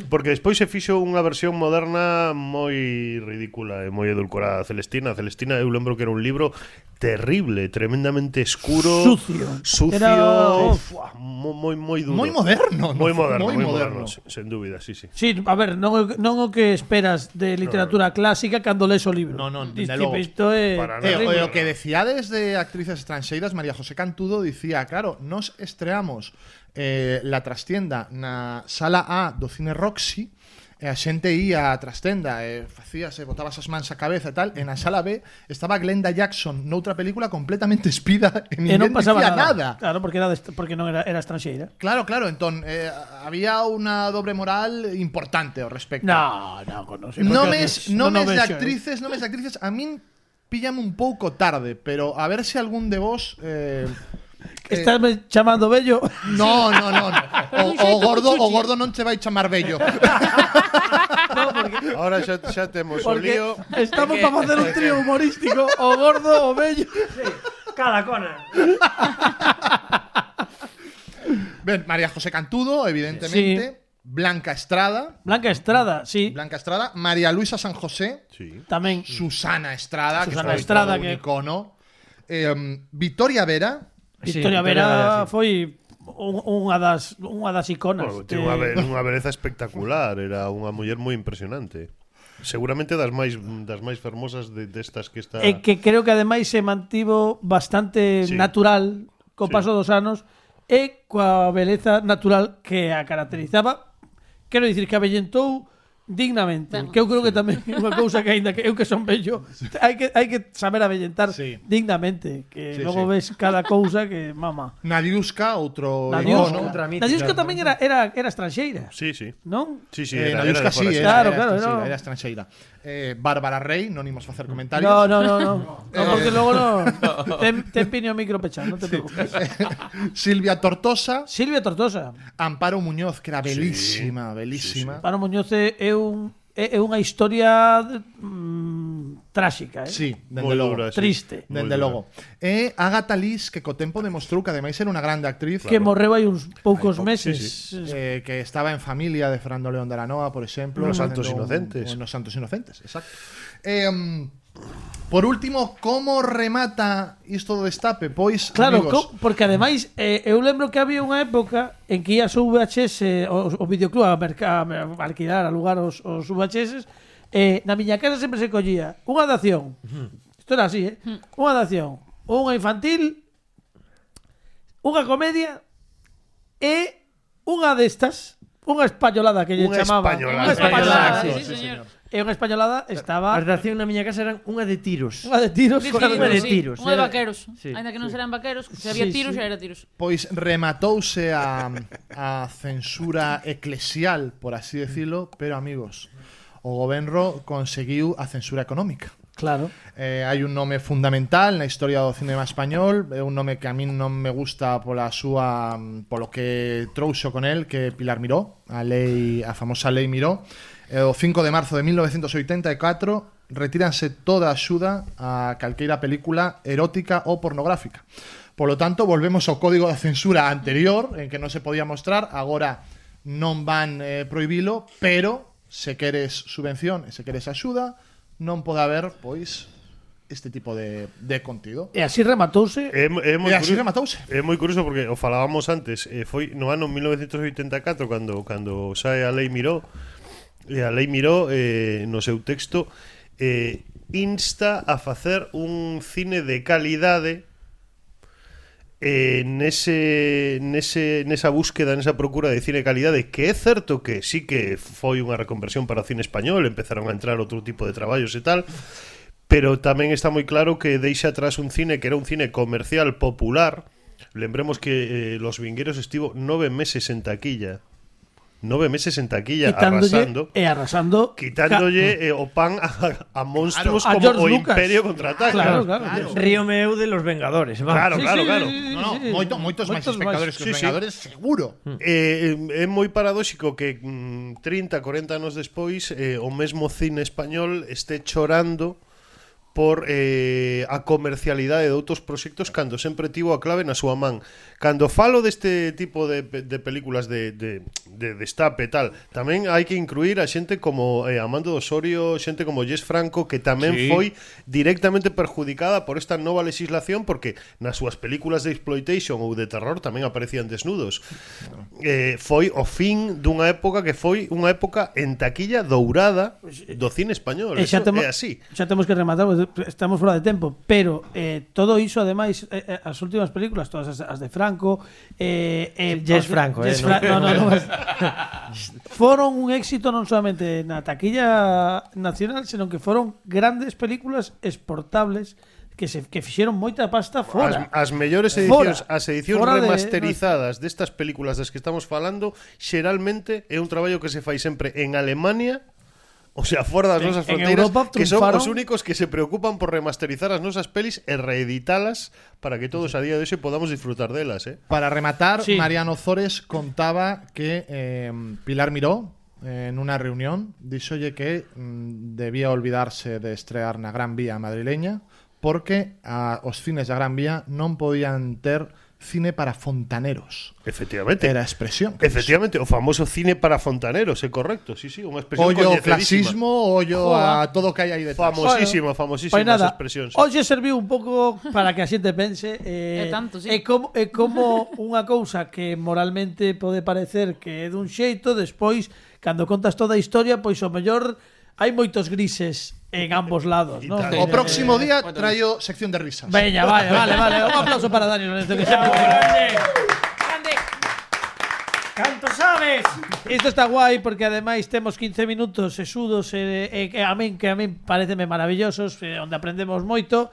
porque despois se fixo unha versión moderna moi ridícula e moi edulcorada de Celestina. Celestina eu lembro que era un libro terrible, tremendamente escuro, Sucio. sucio, Era- fua, mo- moi moi duro. Moi moderno, ¿no? Moi moderno, Moi moi moderno. moderno, sen- sen dúbida, sí, sí. Sí, a ver, non, non o que esperas de literatura clásica cando lees o libro. No, non, dende Dis- logo. tipo, Isto é Para nada. E o- terrible. e o que decíades de actrices estranxeiras, María José Cantudo dicía, claro, nos estreamos eh, la trastienda na sala A do cine Roxy, e a xente ía á trastienda, e facíase, botabas as mans á cabeza e tal, e na sala B estaba Glenda Jackson noutra película completamente espida e E ninguén non pasaba dicía nada. nada. Claro, porque era dest- porque non era era estranxeira. Claro, claro, entón, eh, había unha dobre moral importante ao respecto. No, no, no, sí, porque Nomes, non o nomes de vexo, eh. actrices, nomes de actrices. A min píllame un pouco tarde, pero a ver si algún de vos. Eh, Estás me chamando bello. no, no, no, no. un O, o xeito gordo, o cuchi. gordo non che vai chamar bello. Ahora xa, xa Pues temos o Porque lío. estamos para facer un trío humorístico, o gordo o bello. Cada cona. Ben, María José Cantudo, evidentemente. Blanca Estrada, Blanca Estrada, sí, Blanca Estrada, María Luisa San José, Sí. tamén. Susana Estrada, Susana que foi Estrada, todo un que- icono. Eh, Victoria Vera, Victoria Vera foi un- unha das unha das iconas. Bueno, de- tiña unha, be unha beleza espectacular, era unha muller moi impresionante. Seguramente das máis das máis fermosas de destas que está. e que creo que ademais se mantivo bastante Sí. natural co Sí. paso dos anos e coa beleza natural que a caracterizaba. Quero dicir que abellentou dignamente, Ben. que eu creo que tamén é unha cousa que aínda que eu que son bello, hai que hai que saber abellentar Sí. dignamente, Sí, que logo sí. ves cada cousa que mama. Nadiuska, outro Nadiuska. icono. Outra mítica. Nadiuska tamén era era era estranxeira, Sí, sí. non? Sí, sí, Eh, era, era de Nadiuska sí, fora, era, era Claro, claro, estranxeira, no. era estranxeira. Eh, Bárbara Rey, non imos facer comentarios. No, no, no, no. no porque logo no. Ten, ten piño micro pechado, non te preocupes. Silvia Tortosa, Silvia Tortosa. Amparo Muñoz, que era belísima, belísima. Pano Muñoz é é un é é unha historia mm, tráxica, eh? Sí, dende moi logo. dura, sí. Triste. Moi Dende dura. logo. E Agatha Liz, que co tempo demostrou que ademais era unha grande actriz. Que morreu hai uns poucos meses. eh, que estaba en familia de Fernando León de la Noa, por exemplo. Los Santos facendo un- Inocentes. Los Santos Inocentes, exacto. Eh, mm, Por último, como remata isto do destape? Pois, Claro, amigos, co- porque ademais eh, eu lembro que había unha época en que ías ao VHS o, o videoclub a, merca, a, a alquilar, a lugar os, os VHS eh, na miña casa sempre se collía unha dación isto era así, eh? Hmm. unha dación unha infantil unha comedia e unha destas unha españolada que lle Unha chamaba españolada. unha españolada sí, sí. sí, señor. e unha españolada estaba As dación na miña casa eran unha de tiros. unha de tiros ¿eh? Sí, con- sí, Unha de sí, tiros, Unha de era- vaqueros. Sí, Ainda que non serán vaqueros, se había Sí, tiros, sí. xa era tiros. pois rematouse a, a censura eclesial, por así decirlo, pero amigos, o goberno conseguiu a censura económica. claro Eh, hai un nome fundamental na historia do cinema español, é un nome que a min non me gusta pola súa mm, polo que trouxo con el, que é Pilar Miró, a lei a famosa lei Miró. Eh, o 5 de marzo de 1984 retíranse toda a axuda a calqueira película erótica ou pornográfica. Por lo tanto, volvemos ao código da censura anterior en que non se podía mostrar, agora non van eh, prohibilo, pero se queres subvención e se queres axuda, non pode haber, pois, este tipo de, de contido. e así rematouse É, é moi E así curioso- rematouse. É moi curioso porque o falábamos antes, eh, foi no ano 1984 cando cando sae a Lei Miró, e a Lei Miró eh, no seu texto eh, insta a facer un cine de calidade eh, nese, nese, nesa búsqueda, nesa procura de cine de calidade que é certo que sí que foi unha reconversión para o cine español empezaron a entrar outro tipo de traballos e tal pero tamén está moi claro que deixa atrás un cine que era un cine comercial popular lembremos que eh, Los Vingueros estivo nove meses en taquilla nove meses en taquilla arrasando quitándolle e arrasando quitándolle eh, o pan a, a monstruos como Claro, a George o Lucas. Imperio contraataca. Claro, claro. Ríome eu de los Vengadores, va. Claro, Sí, claro, sí, claro. sí, sí, No, no, sí, sí. moito, moitos, máis Moitos espectadores que os Sí, sí. Vengadores, seguro. Eh, eh, é moi paradóxico que mm, 30, 40 anos despois eh, o mesmo cine español este chorando por eh, a comercialidade de outros proxectos cando sempre tivo a clave na súa man. Cando falo deste tipo de, pe- de películas de, de, de destape e tal, tamén hai que incluir a xente como eh, Amando do Osorio, xente como Jess Franco, que tamén sí. foi directamente perjudicada por esta nova legislación porque nas súas películas de exploitation ou de terror tamén aparecían desnudos eh, foi o fin dunha época que foi unha época en taquilla dourada do cine español. E Eso xa temos, é así. xa temos que rematar, porque estamos fora de tempo, pero eh, todo iso ademais eh, eh, as últimas películas, todas as, as de Franco, eh eh as Jess de- Franco, eh, Jess no- Fra- no, no, no, as- foron un éxito non solamente na taquilla nacional, senón que foron grandes películas exportables que se que fixeron moita pasta fora. As, as mellores edicións, Fora. as edicións Fora de- remasterizadas destas películas das que estamos falando, xeralmente é un traballo que se fai sempre en Alemania, o sea, fora das En- nosas en fronteiras, Europa que son triunfaron- os únicos que se preocupan por remasterizar as nosas pelis e reeditalas para que todos a día de hoxe podamos disfrutar delas, eh. Para rematar, Sí. Mariano Zores contaba que eh, Pilar Miró, eh, en una reunión, dijo que mm, debía olvidarse de estrear na Gran Vía madrileña porque a, os cines da Gran Vía non podían ter cine para fontaneros. Efectivamente. Era a expresión. que dixo. Efectivamente, o famoso cine para fontaneros, é correcto, sí, sí, unha expresión Ollo coñecidísima. clasismo, ollo Joa. a todo que hai aí detrás. Famosísima, famosísima Pois esa pues nada, expresión. sí. hoxe serviu un pouco para que a xente pense É eh, tanto, sí. é como, é como unha cousa que moralmente pode parecer que é dun xeito, despois, cando contas toda a historia, pois o mellor hai moitos grises en ambos lados, non? tal. O próximo Eh, día cuéntanos. traio sección de risas. Veña, vale, vale, vale. Un aplauso para Dani Lorenzo, que sempre... Grande. Canto sabes? Isto está guai porque ademais temos 15 minutos sesudos e, e que a min que a min pareceme maravillosos, eh, onde aprendemos moito,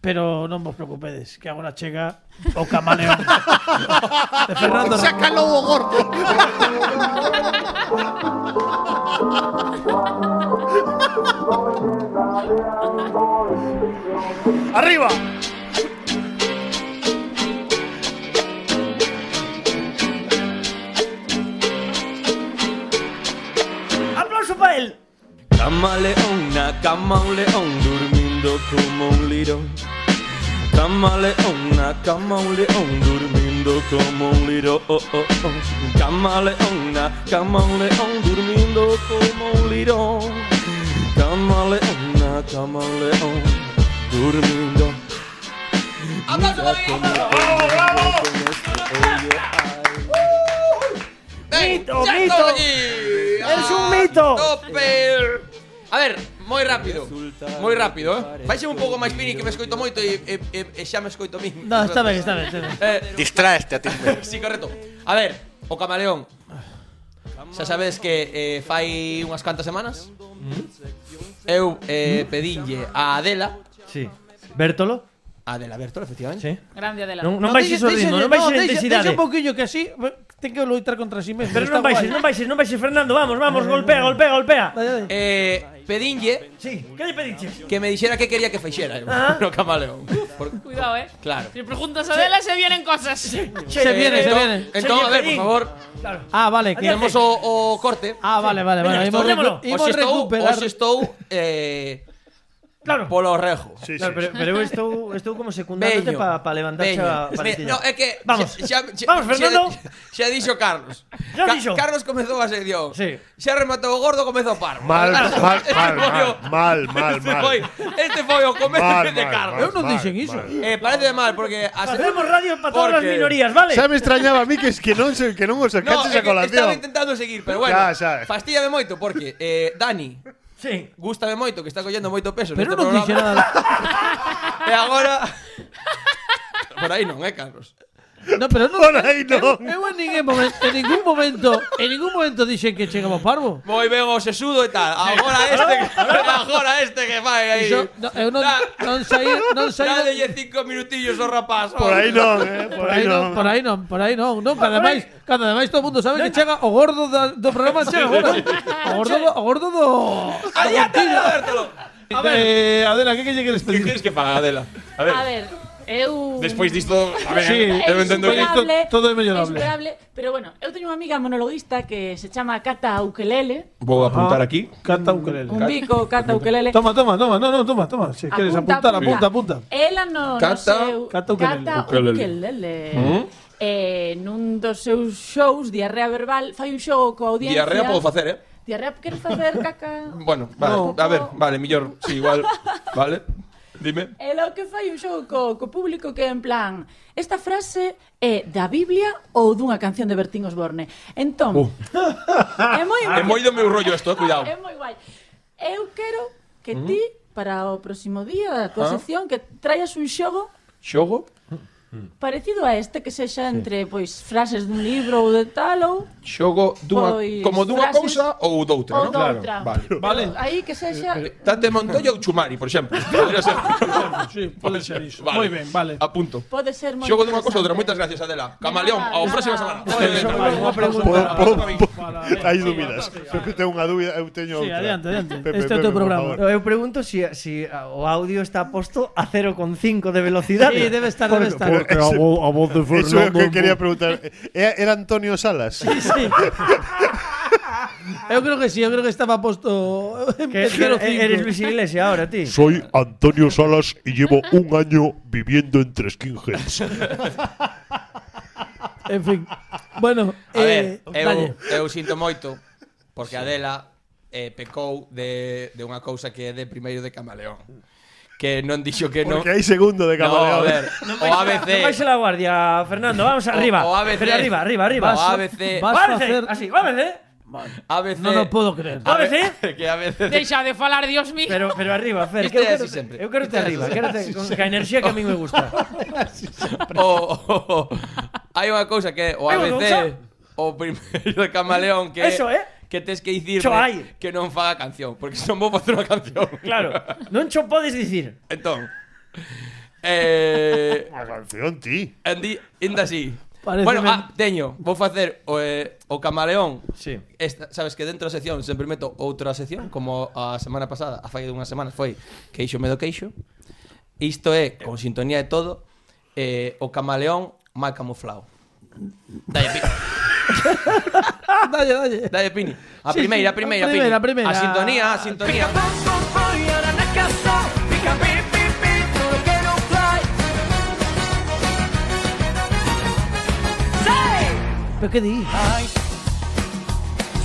pero non vos preocupedes, que agora chega o camaleón. de Fernando Sácalo, o gordo. ¡Arriba! Ah. Aplauso para él. Camaleona, camaleón, durmiendo como un lirón. Camaleona, camaleón, durmiendo como un lirón. Camaleona, camaleón, durmiendo como un lirón. camaleona, camaleón, durmiendo. ¡Aplauso para Miguel! ¡Ven, Mito, ya mito. estoy aquí! ¡Es un ¡A mito! tope! A ver, moi rápido. Moi rápido, eh? Vai ser un pouco máis pini que me escoito moito e, e, e, e xa me escoito a min. No, está ben, está ben, está ben. Eh, Distraeste a ti mesmo. sí, correcto. A ver, o camaleón. Xa sabedes que eh, fai unhas cuantas semanas eu eh, pedinlle a Adela Sí. Bertolo? a Adela Bertol, efectivamente Sí. Grande Adela. Non, non baixes o ritmo, non baixes a intensidade. Deixa un pouquinho que así eh, ten que loitar contra si mesmo. Pero non baixes, non baixes, non baixes, Fernando, vamos, vamos, eh. golpea, golpea, golpea. eh, Pedinlle Sí, que lle pediches? que me dixera que quería que fixera eu, Ah. no camaleón Por- Cuidado, eh. Claro Si Eh, preguntas a Adela, se vienen cosas. Se viene, se entón- viene. Entón, a ver, por Pedín. favor Ah, vale, que Tiremos o, o corte Ah, vale, vale, vale. Venga, Imos recu- tornémolo. imos Hoxe estou, recuperar. hoxe estou eh, Claro. Polo rejo Sí, sí. Claro, pero, pero eu estou, estou como secundándote Veño. para pa levantar Veño. xa Mira, paletilla. No, é que Vamos. xa, xa, Vamos, Fernando. Xa, xa dixo Carlos. Xa dixo. Carlos comezou a sección. Sí. Xa rematou o gordo, comezou o parvo. Mal, Claro, mal, este mal, foi mal, o- mal, mal, Este foi, mal. este foi o comezo Mal, de mal, Carlos. Eu non Vale, dixen iso. vale. Eh, parece mal porque as- Facemos radio para todas as Porque- minorías, vale? Xa me extrañaba a mí que es que non se- que non os No, sacaches a é que estaba colación. intentando seguir, pero bueno, Xa, xa. fastíame moito porque eh, Dani, Sí. gústame moito que está collendo moito peso Pero neste non programa. dixe nada. E agora Por aí non, eh, Carlos. No, pero non. Por aí non. Eu en ningún momento, en ningún momento, en ningún momento dixen que chegamos parvo. Moi ben o sesudo e tal. Agora este, que- agora este que fai aí. Iso, no, eu non, Da- non saí, non saí. Dádelle cinco minutillos ao rapaz. Por aí non, eh, por Por aí aí non, por non. aí non, por aí non, non, cada máis, cada máis todo o mundo sabe que chega o gordo da, do programa chega agora. O gordo, do- o gordo do Adiante, Alberto. A ver, eh, Adela, que que lle queres Que queres que faga, Adela? A ver, A ver, eu... despois disto, a ver, Sí, eu entendo que... isto todo é mellorable. Esperable, pero bueno, eu teño unha amiga monologuista que se chama Cata Ukelele, Vou apuntar aquí. Canta ukelele. un bico Cata Ukelele. Toma, toma, toma, no, no, toma, toma. Se queres apuntar, apunta, apunta. Ela no, Cata- no seu... Cata Ukelele. Cata Ukelele. ¿Mm? Ukelele. Eh, nun dos seus shows, Diarrea Verbal, fai un show coa audiencia... Diarrea podo facer, eh? Diarrea, queres facer, caca? Bueno, vale, No. a ver, vale, mellor, si, sí, igual, vale. Dime. El o que fai un show co, co público que é en plan Esta frase é da Biblia ou dunha canción de Bertín Osborne Entón Uh. É moi, É moi do meu rollo isto, eh, cuidado. é moi guai Eu quero que ti para o próximo día da tua Ah. sección que traias un xogo Xogo? parecido a este que sexa entre pois frases dun libro ou de tal ou Xogo dunha, Pois, como dunha frases- cousa ou doutra, ou non? doutra. Vale. Vale. aí que sexa Eh, Dante Montoya ou Chumari, por exemplo. Podría ser. Sí, pode ser iso. Vale. Moi ben, vale. Apunto. pode ser moi Xogo dunha cousa ou outra. interesante. Moitas gracias, Adela. Camaleón, nada, ao nada. próxima semana. Unha Por, pregunta. por, por, hai dúbidas. Pepe ten unha dúbida, eu teño Sí, outra. adiante, adiante. Pepe, Este é o Pepe, teu por programa. favor. No, Eu Eh, pregunto si, si a- o audio está posto a 0,5 de velocidade. Sí, debe estar, debe estar. Porque a vo- voz de Eso é o que quería preguntar. Era era Antonio Salas. Sí. Eu creo que sí, eu creo que estaba posto en Que, que Pesquero cinco. eres Luis Iglesias ahora, ti. Soy Antonio Salas y llevo un año viviendo entre skinheads. En fin. Bueno, A ver, eh, eu, dalle. eu sinto moito porque Adela eh, pecou de, de unha cousa que é de primeiro de camaleón. Que non dixo que non... Porque hay segundo de No, a camaleón. ver, o ABC... Non baixe la guardia, Fernando, vamos arriba. o ABC. Pero arriba, arriba, arriba. O ABC. Vas Vamos, facer- así, vamos, eh. ABC... Non o podo creer. A ver- ABC? Que a veces... Deixa de falar, Dios mío Pero, pero arriba, Fer, Viste que eu quero, así sempre. eu quero te Viste arriba, así quero te, con ca enerxía que a mí me gusta. o, o, o, hai unha cousa que é o Hai unha ABC o primeiro de camaleón que Eso, eh. que tes que dicir Cho hai. que non faga canción, porque se non vou facer unha canción. Claro, non cho podes dicir. entón, eh, La canción, ti. Andy, inda así. Pareceme- Bueno, ah, teño, vou facer o, eh, o camaleón. Sí. Esta, sabes que dentro da sección sempre meto outra sección, como a semana pasada, a fai dunhas semanas foi Queixo Medo Queixo. Isto é, con sintonía e todo, eh, o camaleón mal camuflado. Dalle, pi Dalle, dalle. dalle Pini. A Sí, primeira, a primeira, sí, a primeira, Pini. a primeira. A sintonía, a sintonía. Pero que di?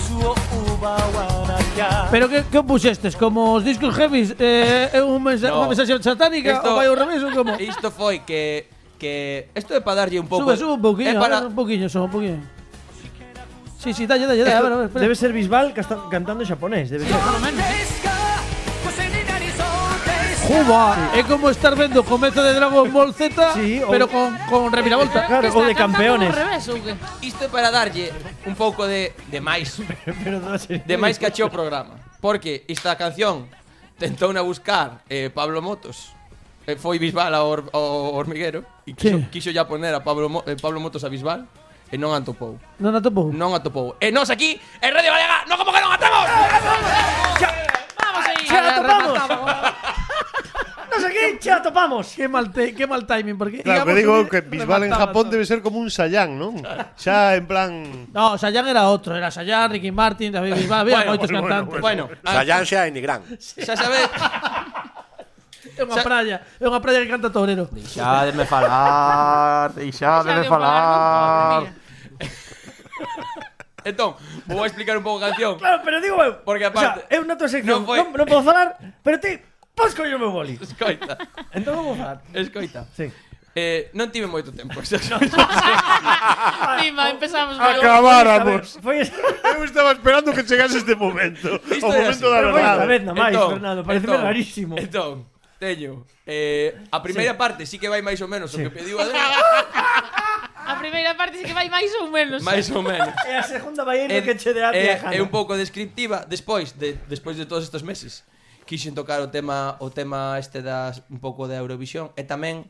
Suo uba wana Pero que, que puxestes? este? Como os discos heavies? Eh, é un mensa No. no. unha mensaxe satánica? Esto- Isto... O vai ao revés ou como? Isto foi que que isto é para darlle un pouco. Sube, sube un é pouquinho, para para... un pouquinho, só un pouquinho. Sí, sí, dalle, dalle, dalle, a ver, a ver, espera. Debe ser Bisbal casta- cantando en japonés, debe ser. Juba, é como estar vendo o comezo de Dragon Ball Z, Sí, ou- pero con, con reviravolta. Claro, o de campeones. isto é para darlle un pouco de de máis, Pero no sé. de máis que acheo o programa, porque esta canción tentou na buscar eh, Pablo Motos. Eh, foi Bisbal ao, or- ao hormiguero e quixo, quixo ya poner a Pablo, Mo- eh, Pablo Motos a Bisbal e non a topou. Non atopou. Non a topou. E nós aquí, en Radio Galega, non como que non atamos! Vamos aí. ¡Che, la topamos! ¡No sé qué! ¡Che, la topamos! Que mal, te, que mal timing, porque... Claro, que íbamos digo subir, que Bisbal en remataba Japón todo. debe ser como un Sayang, ¿no? Ya en plan. No, Sayan era outro, era Sayan, Ricky Martin, David Bisbal, había Bueno, moitos bueno, cantantes. Bueno, Ah, a- Sayang sea en Nigrán. xa sabes, É unha Sa- praia, é unha praia que canta Tobrero. Deixademe falar, deixademe falar. Entón, vou explicar un pouco a canción. Claro, pero digo eu, Porque o aparte- sea, eu na tua Non sección non, foi- non, non podo falar, pero ti podes coller o meu boli. Escoita, Entón non vou falar. escoita. Sí. Eh, non tive moito tempo. Encima, empezamos Acabáramos. Foi esta Yo estaba esperando que llegase este momento. O era momento así. da foi esta verdade. vez na máis, Fernando, parece rarísimo. Entón, teño. Eh, a primeira parte sí que vai máis ou menos o que pediu a A primeira parte sí que vai máis ou menos. máis ou menos. E a segunda vai ir É- no que che de a é, viajando. é un pouco descriptiva despois de despois de todos estes meses. Quixen tocar o tema o tema este das un pouco da Eurovisión e tamén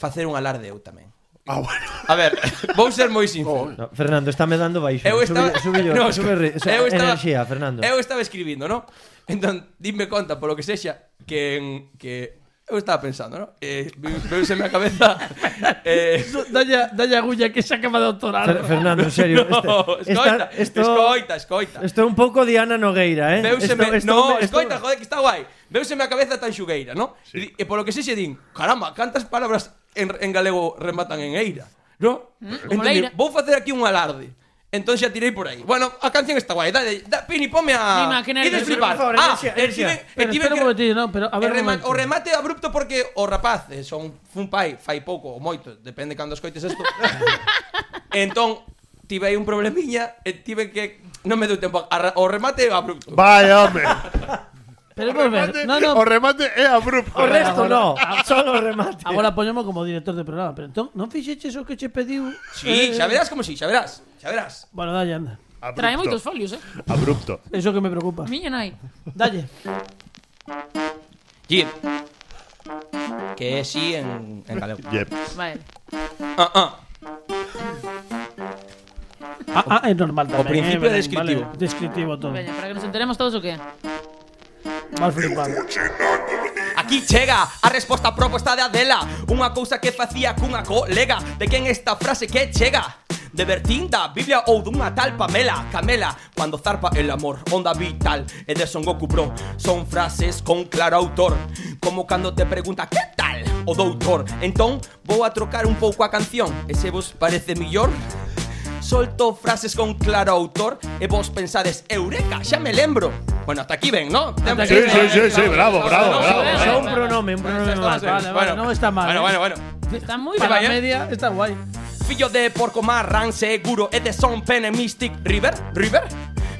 facer un alarde eu tamén. Ah, bueno. A ver, vou ser moi sincero. No, Fernando, está me dando baixo. Eu estaba... Oh, Sube, sube, No, no, sube, re- o sea, eu estaba- enerxía, Fernando. Eu estaba escribindo, ¿no? Entón, dime conta, polo que sexa, que... en- que eu estaba pensando, ¿no? Eh, vi- veuse a cabeza... Eh, Dalle, dalle agulla que se acaba de Fer- doctorar. Fernando, en serio. este- no, escoita, esta- escoita, escoita. Isto é un pouco Diana Nogueira, eh? Veuseme, Isto- isto- no, isto- escoita, joder, que está guai. Veuseme a cabeza tan xugueira, ¿no? E di- E polo que sexe din, caramba, cantas palabras en, en galego rematan en eira, ¿no? Entón, leira. vou facer aquí un alarde. Entón xa tirei por aí. Bueno, a canción está guai. Dale, da, Pini, ponme a... Ni má, que nervios. Ides flipar. Por favor, ah, enerxía, e enerxía. tiven- e Pero tiven espera un que- momentinho, non, pero a ver e un rema- momento. o remate abrupto porque o rapaz eh, son fun pai, fai pouco ou moito, depende cando escoites isto. entón, tive aí un problemiña e tive que non me deu tempo a ra- o remate abrupto. Vaya, hombre. Pero vamos ver, Remate- non, non, O remate é abrupto. O resto no, solo o remate. Agora poñemos como director de programa, pero entón non fixeches o que che pediu? Sí, xa verás como si, xa verás, xa verás. Bueno, dalle, anda. Abrupto. Trae moitos folios, eh? Abrupto. Eso que me preocupa. Miña nai. Dalle. Jim. Que é si en, en galego. Yep. Vale. Ah, ah. Ah, ah, é normal O tamén. principio eh, é descritivo. Vale, descritivo todo. Veña, para que nos enteremos todos o que é. Mal flipado. Aquí chega a resposta proposta de Adela Unha cousa que facía cunha colega De quen esta frase que chega De Bertín da Biblia ou dunha tal Pamela Camela, cando zarpa el amor Onda vital e de Son Goku Pro Son frases con claro autor Como cando te pregunta que tal o doutor Entón, vou a trocar un pouco a canción E se vos parece millor Solto frases con claro autor e vos pensades, eureka, xa me lembro. Bueno, hasta aquí ven, ¿no? Sí, sí, sí, sí, bravo, bravo, bravo. Só un pronome, un pronome máis. vale, vale, non está mal, Bueno, bueno, eh. bueno. Está moi Para a vaya. ben. media está guai. Fillo de porco marran seguro e de Son Pene Mystic River, River.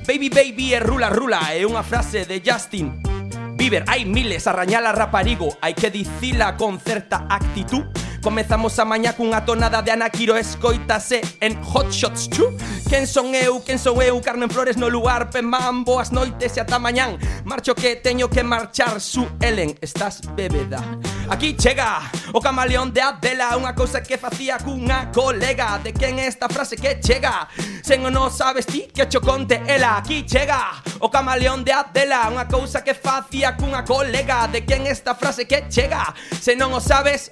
Baby baby e rula rula é unha frase de Justin Bieber. Hai miles a rañala raparigo, hai que dicila con certa actitud. Comezamos a mañá cunha tonada de Anakiro Escoitase en Hot Shots 2 Quen son eu, quen sou eu, Carmen Flores no lugar Pemán, boas noites e ata mañán Marcho que teño que marchar Su Ellen, estás bebeda Aquí chega o camaleón de Adela Unha cousa que facía cunha colega De quen é esta frase que chega Sen o non sabes ti que cho conte ela Aquí chega o camaleón de Adela Unha cousa que facía cunha colega De quen é esta frase que chega Se non o sabes,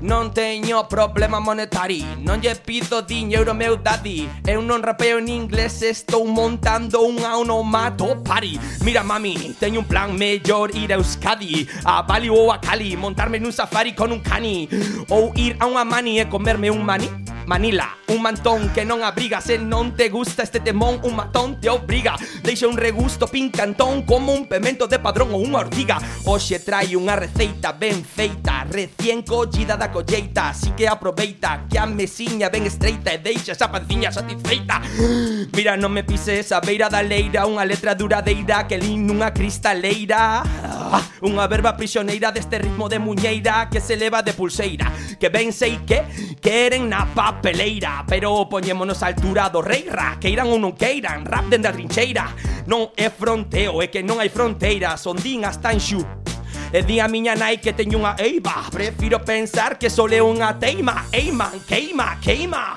Non teño problema monetario Non lle pido diñeiro meu daddy Eu non rapeo en inglés Estou montando un onomato party Mira mami, teño un plan mellor ir a Euskadi A Bali ou a Cali Montarme nun safari con un cani Ou ir a unha mani e comerme un maní Manila, un mantón que non abriga Se non te gusta este temón, un matón te obriga Deixa un regusto pincantón como un pemento de padrón ou unha ortiga Oxe trai unha receita ben feita Recien collida da colleita Así que aproveita que a mesiña ben estreita E deixa esa panciña satisfeita Mira, non me pises a beira da leira Unha letra duradeira que lin nunha cristaleira Ah, Unha verba prisioneira deste ritmo de muñeira Que se leva de pulseira Que ben sei que queren na papeleira Pero poñémonos a altura do reira Queiran ou non queiran, rap dende a trincheira Non é fronteo, é que non hai fronteiras Ondín hasta en xu E di a miña nai que teño unha eiva Prefiro pensar que só é unha teima Eiman, queima, queima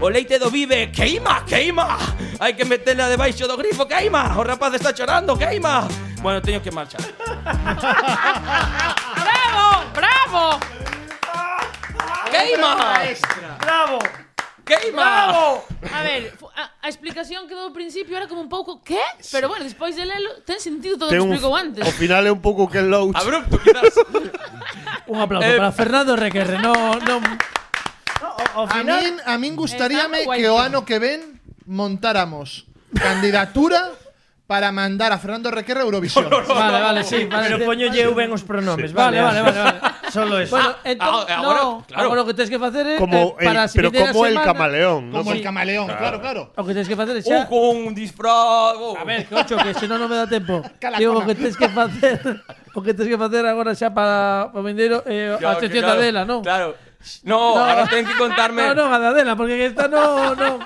O leite do vive, queima, queima Hai que metela debaixo do grifo, queima O rapaz está chorando, queima Bueno, teño que marchar ¡Bravo! ¡Bravo! Queima! ¡Bravo! Queima! ¡Bravo! A ver, fu- a, a explicación que dou ao principio era como un pouco que, pero bueno, despois de lelo ten sentido todo o que Ten un- explicou antes. Ao final é un pouco que Loach. Abrupto, quizás Un aplauso Eh, para Fernando Requerre. No, no. Ao A final- min, a min gustaríame Está guai. que o ano que ven montáramos candidatura para mandar a Fernando Requerre a Eurovisión. Vale, vale, sí. Vale, Pero te- poño eu ben os pronomes, Vale, vale. vale, así. vale, vale. Solo eso. Bueno, entonces, ah, ahora, no, claro. ahora lo que tienes que hacer es Como eh, para el, pero siguiente como el semana, camaleón. ¿no? Como el camaleón, claro, claro. Lo que tienes que hacer es Un ya- Uh, con un disfraz oh. A ver, cocho, que se non non me dá tempo. Cala, Digo, o coma. que tens que facer, o que tens que facer agora xa para o vendeiro eh, Claro, a sección claro, da Adela, non? Claro No, No. ahora ten que contarme No, non, a da Adela, porque que esta non, non.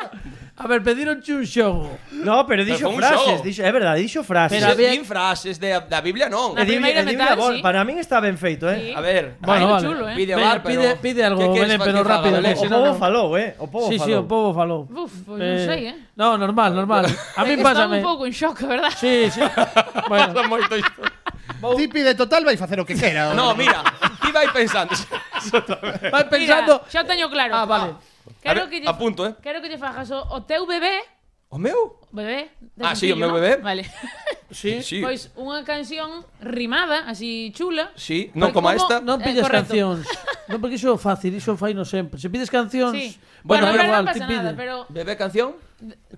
A ver, pedironche un xogo. No, pero dixo fue un frases, show. dixo, é verdade, dixo frases. Pero Pero había- había... frases de, da Biblia non Na E di- primeira e di metal, Bilbao, sí. Para min está ben feito, Sí. eh. A ver Ay, Bueno, vale. chulo, eh. Pide, bar, Venga, pero... pide- pide algo, ¿Qué quieres Belén, pero que haga, rápido, Belén? que O si no, povo no. falou, eh. O povo Sí, sí, falou. o povo falou. Uf, pois non sei, eh. No, normal, normal. A mí Eh, Estaba un pásame. pouco en shock, a verdad. Sí, sí. Bueno, Moito isto. Tipi de total vai facer o que quera. No, mira, ti vai pensando. vai pensando. Mira, xa o teño claro. Ah, vale. Quero A ver, que lle, apunto, eh. Quero que lle fagas o, o teu bebé, O meu? bebé. de Ah, sí, o sencillo, meu ¿no? bebé. Vale. Sí. Sí. Pois unha canción rimada, así chula. Sí, non Porque como como- esta. Non Eh, pides correcto. cancións. Non, porque iso é fácil, iso fai no sempre. Se pides cancións, Sí. Bueno, bueno, da pero igual, non ti pasa nada, pide. pero Bebé canción?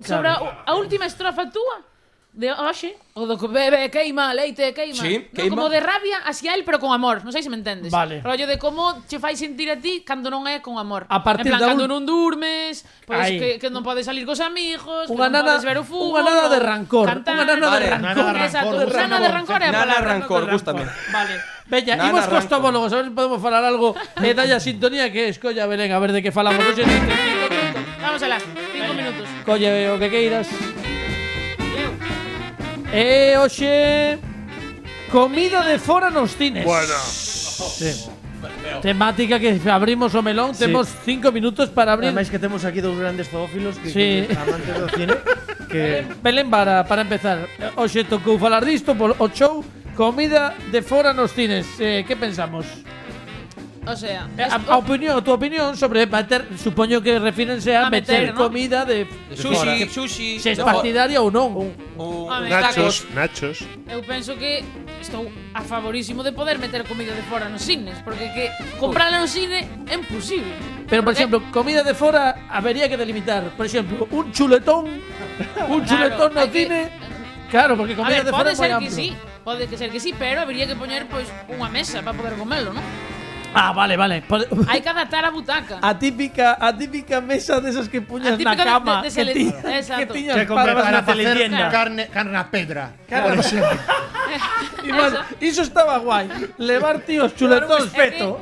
sobre a, a última estrofa túa de hoxe, o do que bebe queima, leite queima, Sí, no, queima. como de rabia hacia él pero con amor, non sei se me entendes. Vale. Rollo de como che fai sentir a ti cando non é con amor. A partir en plan, da cando ul- non durmes, pois Aí. que, que non podes salir cos amigos, que Unha non nana- podes ver o fútbol. unha nana de rancor, cantar. unha de nana Vale. rancor. Nana de Exacto, rancor, nana de rancor é a Nana palabra. rancor, gústame. Vale. Veña, Nada, imos cos arranco. tobólogos, a ver se podemos falar algo e dalla sintonía que escolla Belén, a ver de que falamos. Oxe, dice, Vamos alá, cinco minutos. colle o que queiras. E hoxe comida de fora nos cines. Bueno, Sí. Temática que abrimos o melón, Sí. temos cinco minutos para abrir. Ademais que temos aquí dous grandes zoófilos que, Sí. que amantes do cine que Belén para, para empezar. Hoxe tocou falar disto por o show Comida de fora nos cines. Eh, que pensamos? O sea, Eh, A, a opinión, a tu opinión sobre meter, supoño que refírense a, A meter, meter, ¿no? comida de, de fora. Sushi, sushi. se es no, partidaria ou non. un- A ver. tacos. nachos, nachos. Eu penso que estou a favorísimo de poder meter comida de fora nos cines, porque que comprala no cine é imposible. Pero, por Porque- exemplo, comida de fora habería que delimitar. Por exemplo, un chuletón, un chuletón no hai que- cine. Claro, porque A comida ver, de fora pode é moi ser que amplo. sí, pode que ser que sí, pero habría que poñer pois unha mesa para poder comelo, non? Ah, vale, vale. Pode- Hai que adaptar a butaca. A típica, a típica mesa desas que puñas típica na de- cama, de- de que, sele- ti, Exacto. que tiñas para- que comprabas Para na facer teletienda. carne, carne a pedra. Claro. Y más, iso estaba guai. Levar tíos pues, chuletóns. peto.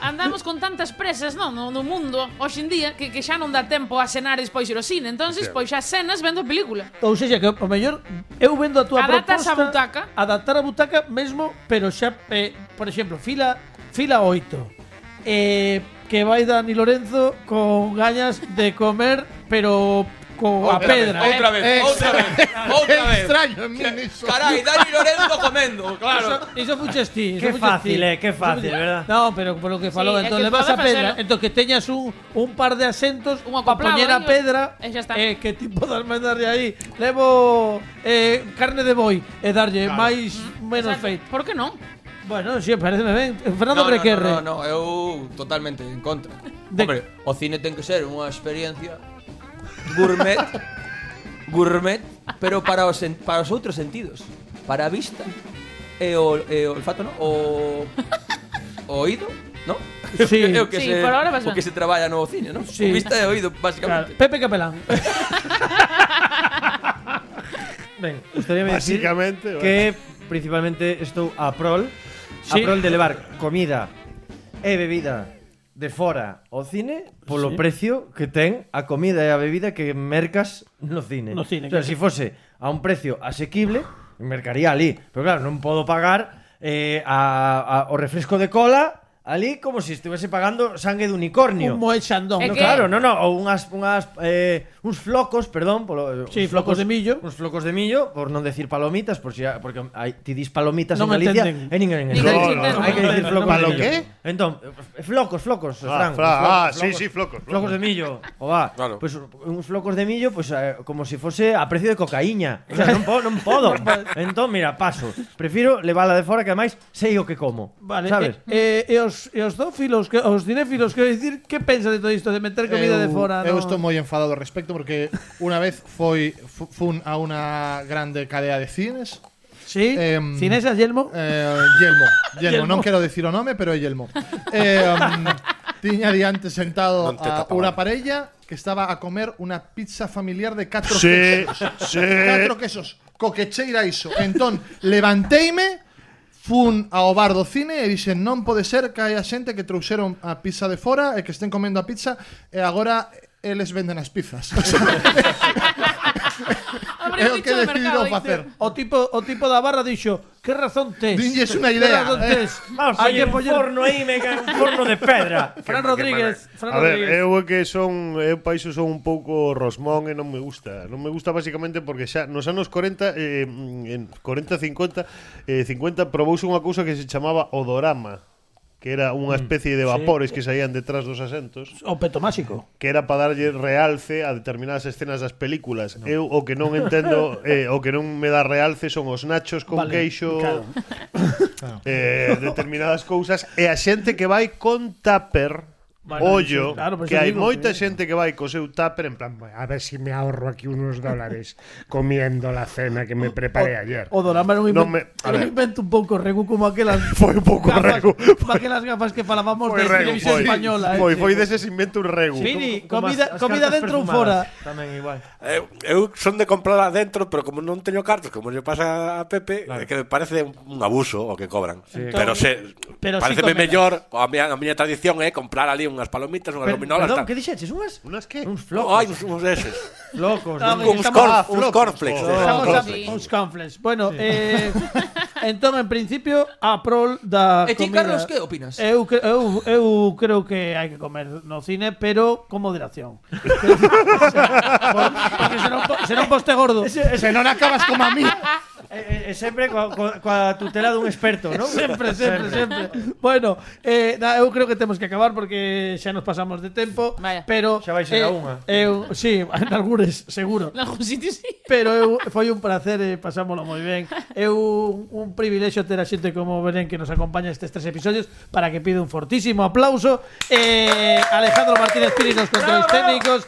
Andamos con tantas presas, non, no, no mundo hoxe en día que, que xa non dá tempo a cenar e despois ir ao cine, entonces pois xa cenas vendo a película. Ou seja, que o mellor eu vendo a túa Adaptas proposta a butaca. Adaptar a butaca mesmo, pero xa eh, por exemplo, fila fila 8. Eh, que vai Dani Lorenzo con gañas de comer, pero co a Outra pedra. Eh, vez, Outra vez, outra vez, outra vez. Extraño en min iso. Carai, Dani Lorenzo comendo, claro. Iso fuches ti. iso Qué fuches fácil, ti. eh, qué Iso fácil, fuches- ¿verdad? No, pero por lo que falou, es entonces que le vas a podemos pedra, hacerlo. entonces que teñas un, un par de asientos Un para acoplado, poñer a ¿eh? pedra, Eh, ya está. eh, que tipo de almendras de aí, levo eh, carne de boi e darlle máis menos feito. Mm, Por que non? Bueno, si, sí, pareceme ben. Eh, Fernando No, no, Requerre. no, no, no, eu eu totalmente en contra. Hombre, o cine ten que ser unha experiencia gourmet, gourmet, pero para os sen- para os outros sentidos, para a vista e o, e o olfato, no? O o oído, no? Sí. É o que Sí, se, por ahora vas o que ben. se traballa no cine, no? Sí. Vista e oído, Claro, basicamente. Pepe Capelán. Ben, gustaríame decir Básicamente, bueno. que principalmente estou a prol Sí. a prol de levar comida e bebida de fora ao cine polo Sí. precio que ten a comida e a bebida que mercas no cine. No cine, o claro. sea, se si fose a un precio asequible, mercaría ali, pero claro, non podo pagar eh, a, a, o refresco de cola ali como se si estivese pagando sangue de unicornio. Un Moet Chandon. No, claro, no, no, ou unhas, unhas eh, uns flocos, perdón, polo, Sí, uns flocos de millo. Uns flocos de millo, por non decir palomitas, por si, ha- porque hai, ti dis palomitas Non en Galicia, entenden. e ninguén Ninguén No, entende. no, entende. hai que decir No, flocos palo de millo. qué? Entón, eh, flocos, flocos, Ah, Fran, fra- os ah, sí, sí, flocos, flocos. Flocos de millo, o va. Claro. Pois uns flocos de millo, pois eh, como se fose a precio de cocaíña. O sea, non, po, non podo. entón, mira, paso. Prefiro levala de fora que ademais sei o que como. Vale, sabes? E, e, e os, e os dófilos, que, os cinéfilos, quero dicir, que pensa de todo isto de meter comida de Eu- fora? Eu no? estou moi enfadado ao respecto porque unha vez foi fu- fun a unha grande cadea de cines Sí, Em, cinesa, Yelmo. Eh, Yelmo, Yelmo, Yelmo. non quero dicir o nome, pero é Yelmo. Eh, um, tiña diante sentado Non te a tapa unha mal. parella que estaba a comer unha pizza familiar de catro Sí, quesos. sí. Catro quesos, co que cheira iso. Entón, levanteime, fun ao bar do cine e dixen non pode ser que haia xente que trouxeron a pizza de fora e que estén comendo a pizza e agora eles venden as pizzas. Abre é un o que nicho de mercado. decidiron dice. facer. O tipo, o tipo da barra dixo, que razón tes? Dinlles unha Que idea, razón eh. tes? Vamos, Hai hai que un poñer- forno aí, me cae un forno de pedra. Fran Rodríguez, Fran A ver, Rodríguez. eu é que son eu paixo son un pouco rosmón e non me gusta. Non me gusta basicamente porque xa nos anos 40 eh, en 40 50 eh, 50 probouse unha cousa que se chamaba odorama que era unha especie de vapores que saían detrás dos asentos O peto máxico. que era para darlle realce a determinadas escenas das películas. No. Eu o que non entendo, eh, o que non me dá realce son os nachos con Vale, vale, queixo, claro. claro. eh, determinadas cousas e a xente que vai con tupper Vale, ollo, sí, claro, por que eso hai digo moita que- xente que vai co seu tupper en plan A ver si me ahorro aquí unos dólares comiendo la cena que me preparé ayer. O Dorama era un invento, Non me- a era un ver. invento un pouco regu como aquelas Foi un pouco gafas, regu. como aquelas gafas que falábamos Foi de regu, televisión foi. española. eh. Foi, foi deses invento un regu. Vini, Como as- comida, as comida cartas dentro ou perfumadas, fora. Tamén igual. Eu, Eh, eu son de comprar adentro, pero como non teño cartos, como lle pasa a Pepe, claro. que me parece un, un abuso o que cobran. Sí. Pero se Pero pero sí pareceme comelas. mellor, a miña, a miña tradición é eh, comprar ali unhas palomitas, unhas Perdón, gominolas, tal. que dixeches? Unhas? Unas que? Uns Oh, flocos. hai uns, uns eses. Flocos. Ah, non? Oye, Uns, estamos- cor, ah, uns cornflakes. Oh. Oh. Estamos a Sí. uns conflens. Bueno, eh, entón, en principio, a prol da E ti, comida. Carlos, que opinas? Eu, cre- eu, eu creo que hai que comer no cine, pero con moderación. Porque senón, po- senón poste gordo. Se non acabas como a mí. E, e, e Eh, sempre coa, coa, coa tutela dun experto, non? Sempre, sempre, sempre. Bueno, eh, na, eu creo que temos que acabar porque xa nos pasamos de tempo, Vaya. pero Xa vai eh, ser a unha. Eu, sí, en algures, seguro. Nalgún sitio sí. Pero eu, foi un placer, eh, pasámolo moi ben. É un, un privilexio ter a xente como Belén que nos acompaña estes tres episodios para que pide un fortísimo aplauso. Eh, Alejandro Martínez Piri nos controles técnicos.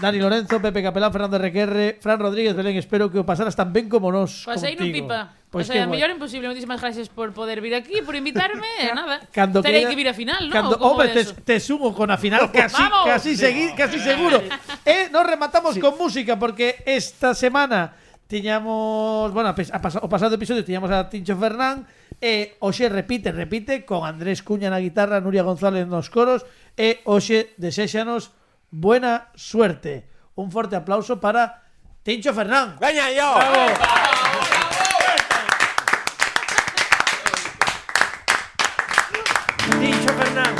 Dani Lorenzo, Pepe Capelán, Fernando RQR, Fran Rodríguez, Belén, espero que o pasaras tan ben como nos Pasei nun contigo. pipa. Pues Pois Pois que o sea, guai. mellor imposible. Moitísimas gracias por poder vir aquí, por invitarme, e nada. Cando Terei queira- que vir a final, non? Cando, Como home, de oh, te, eso. te sumo con a final casi, Vamos. casi, segui- casi seguro. Eh, nos rematamos con música porque esta semana tiñamos, bueno, a pes- a pasa- o pasado episodio tiñamos a Tincho Fernán e hoxe repite, repite con Andrés Cuña na guitarra, Nuria González nos coros e hoxe deséxanos buena suerte. Un forte aplauso para Tincho Fernán. Veña yo. Dicho Fernán.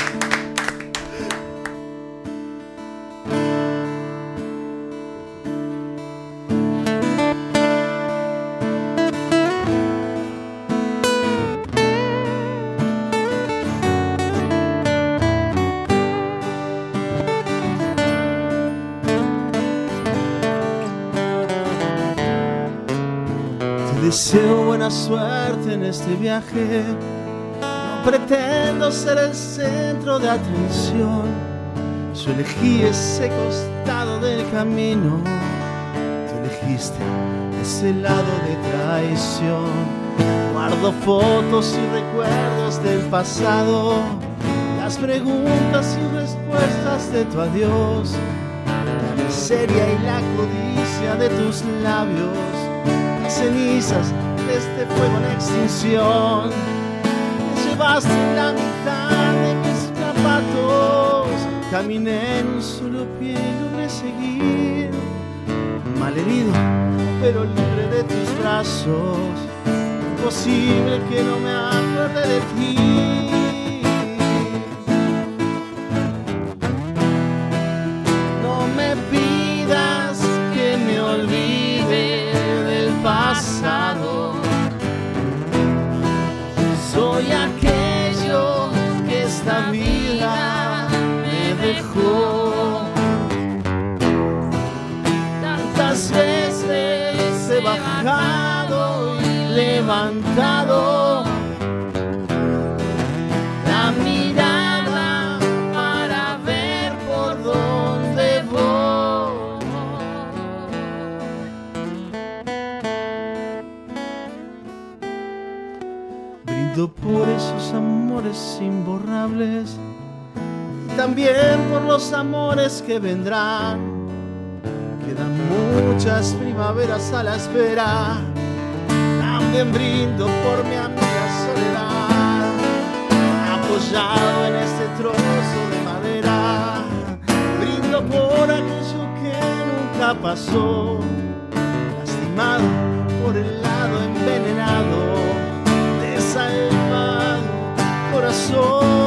Te deseo buena suerte en este viaje. No pretendo ser el centro de atención. Yo elegí ese costado del camino. Tú elegiste ese lado de traición. Guardo fotos y recuerdos del pasado. Las preguntas y respuestas de tu adiós. La miseria y la codicia de tus labios. Las cenizas de este fuego en extinción. Te llevaste la mitad de mis zapatos. Caminé en un solo pie y logré seguir. Malherido, pero libre de tus brazos. Imposible que no me acuerde de ti. No me pidas que me olvide del pasado. Soy aquello que esta vida me dejó. Tantas veces he bajado y levantado la mirada para ver por dónde voy. Brindo por esos amores imborrables y también por los amores que vendrán. Quedan muchas primaveras a la espera. También brindo por mi amiga soledad, apoyado en este trozo de madera. Brindo por aquello que nunca pasó, lastimado por el lado envenenado de esa alma, corazón.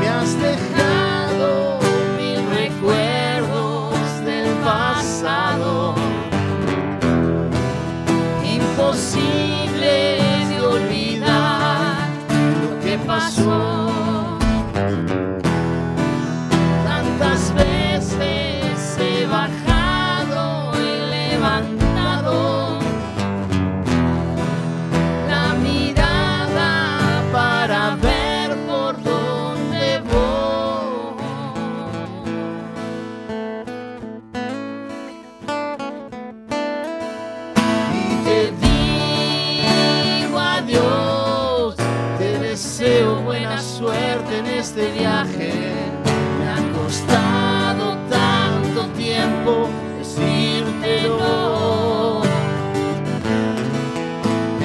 Me has dejado mil recuerdos del pasado. Imposible de olvidar lo que pasó. Tantas veces he bajado y levantado la mirada para ver por dónde voy. Y te digo adiós, te deseo buena suerte en este viaje. Me ha costado tanto tiempo decírtelo.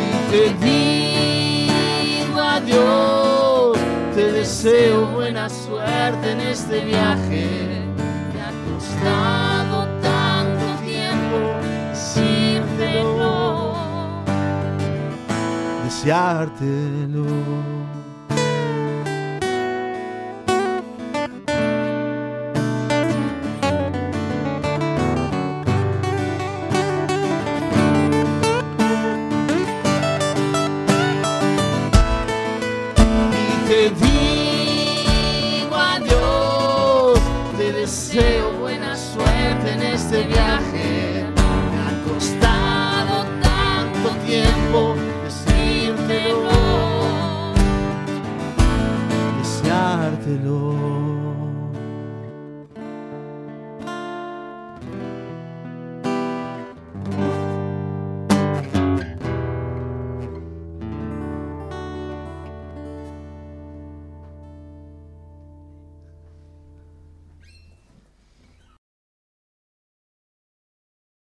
Y te digo adiós, te deseo buena suerte en este viaje. Me ha costado tanto tiempo decírtelo. Deseártelo. Y te digo adiós, te deseo buena suerte en este viaje. Me ha costado tanto tiempo decírtelo, deseártelo.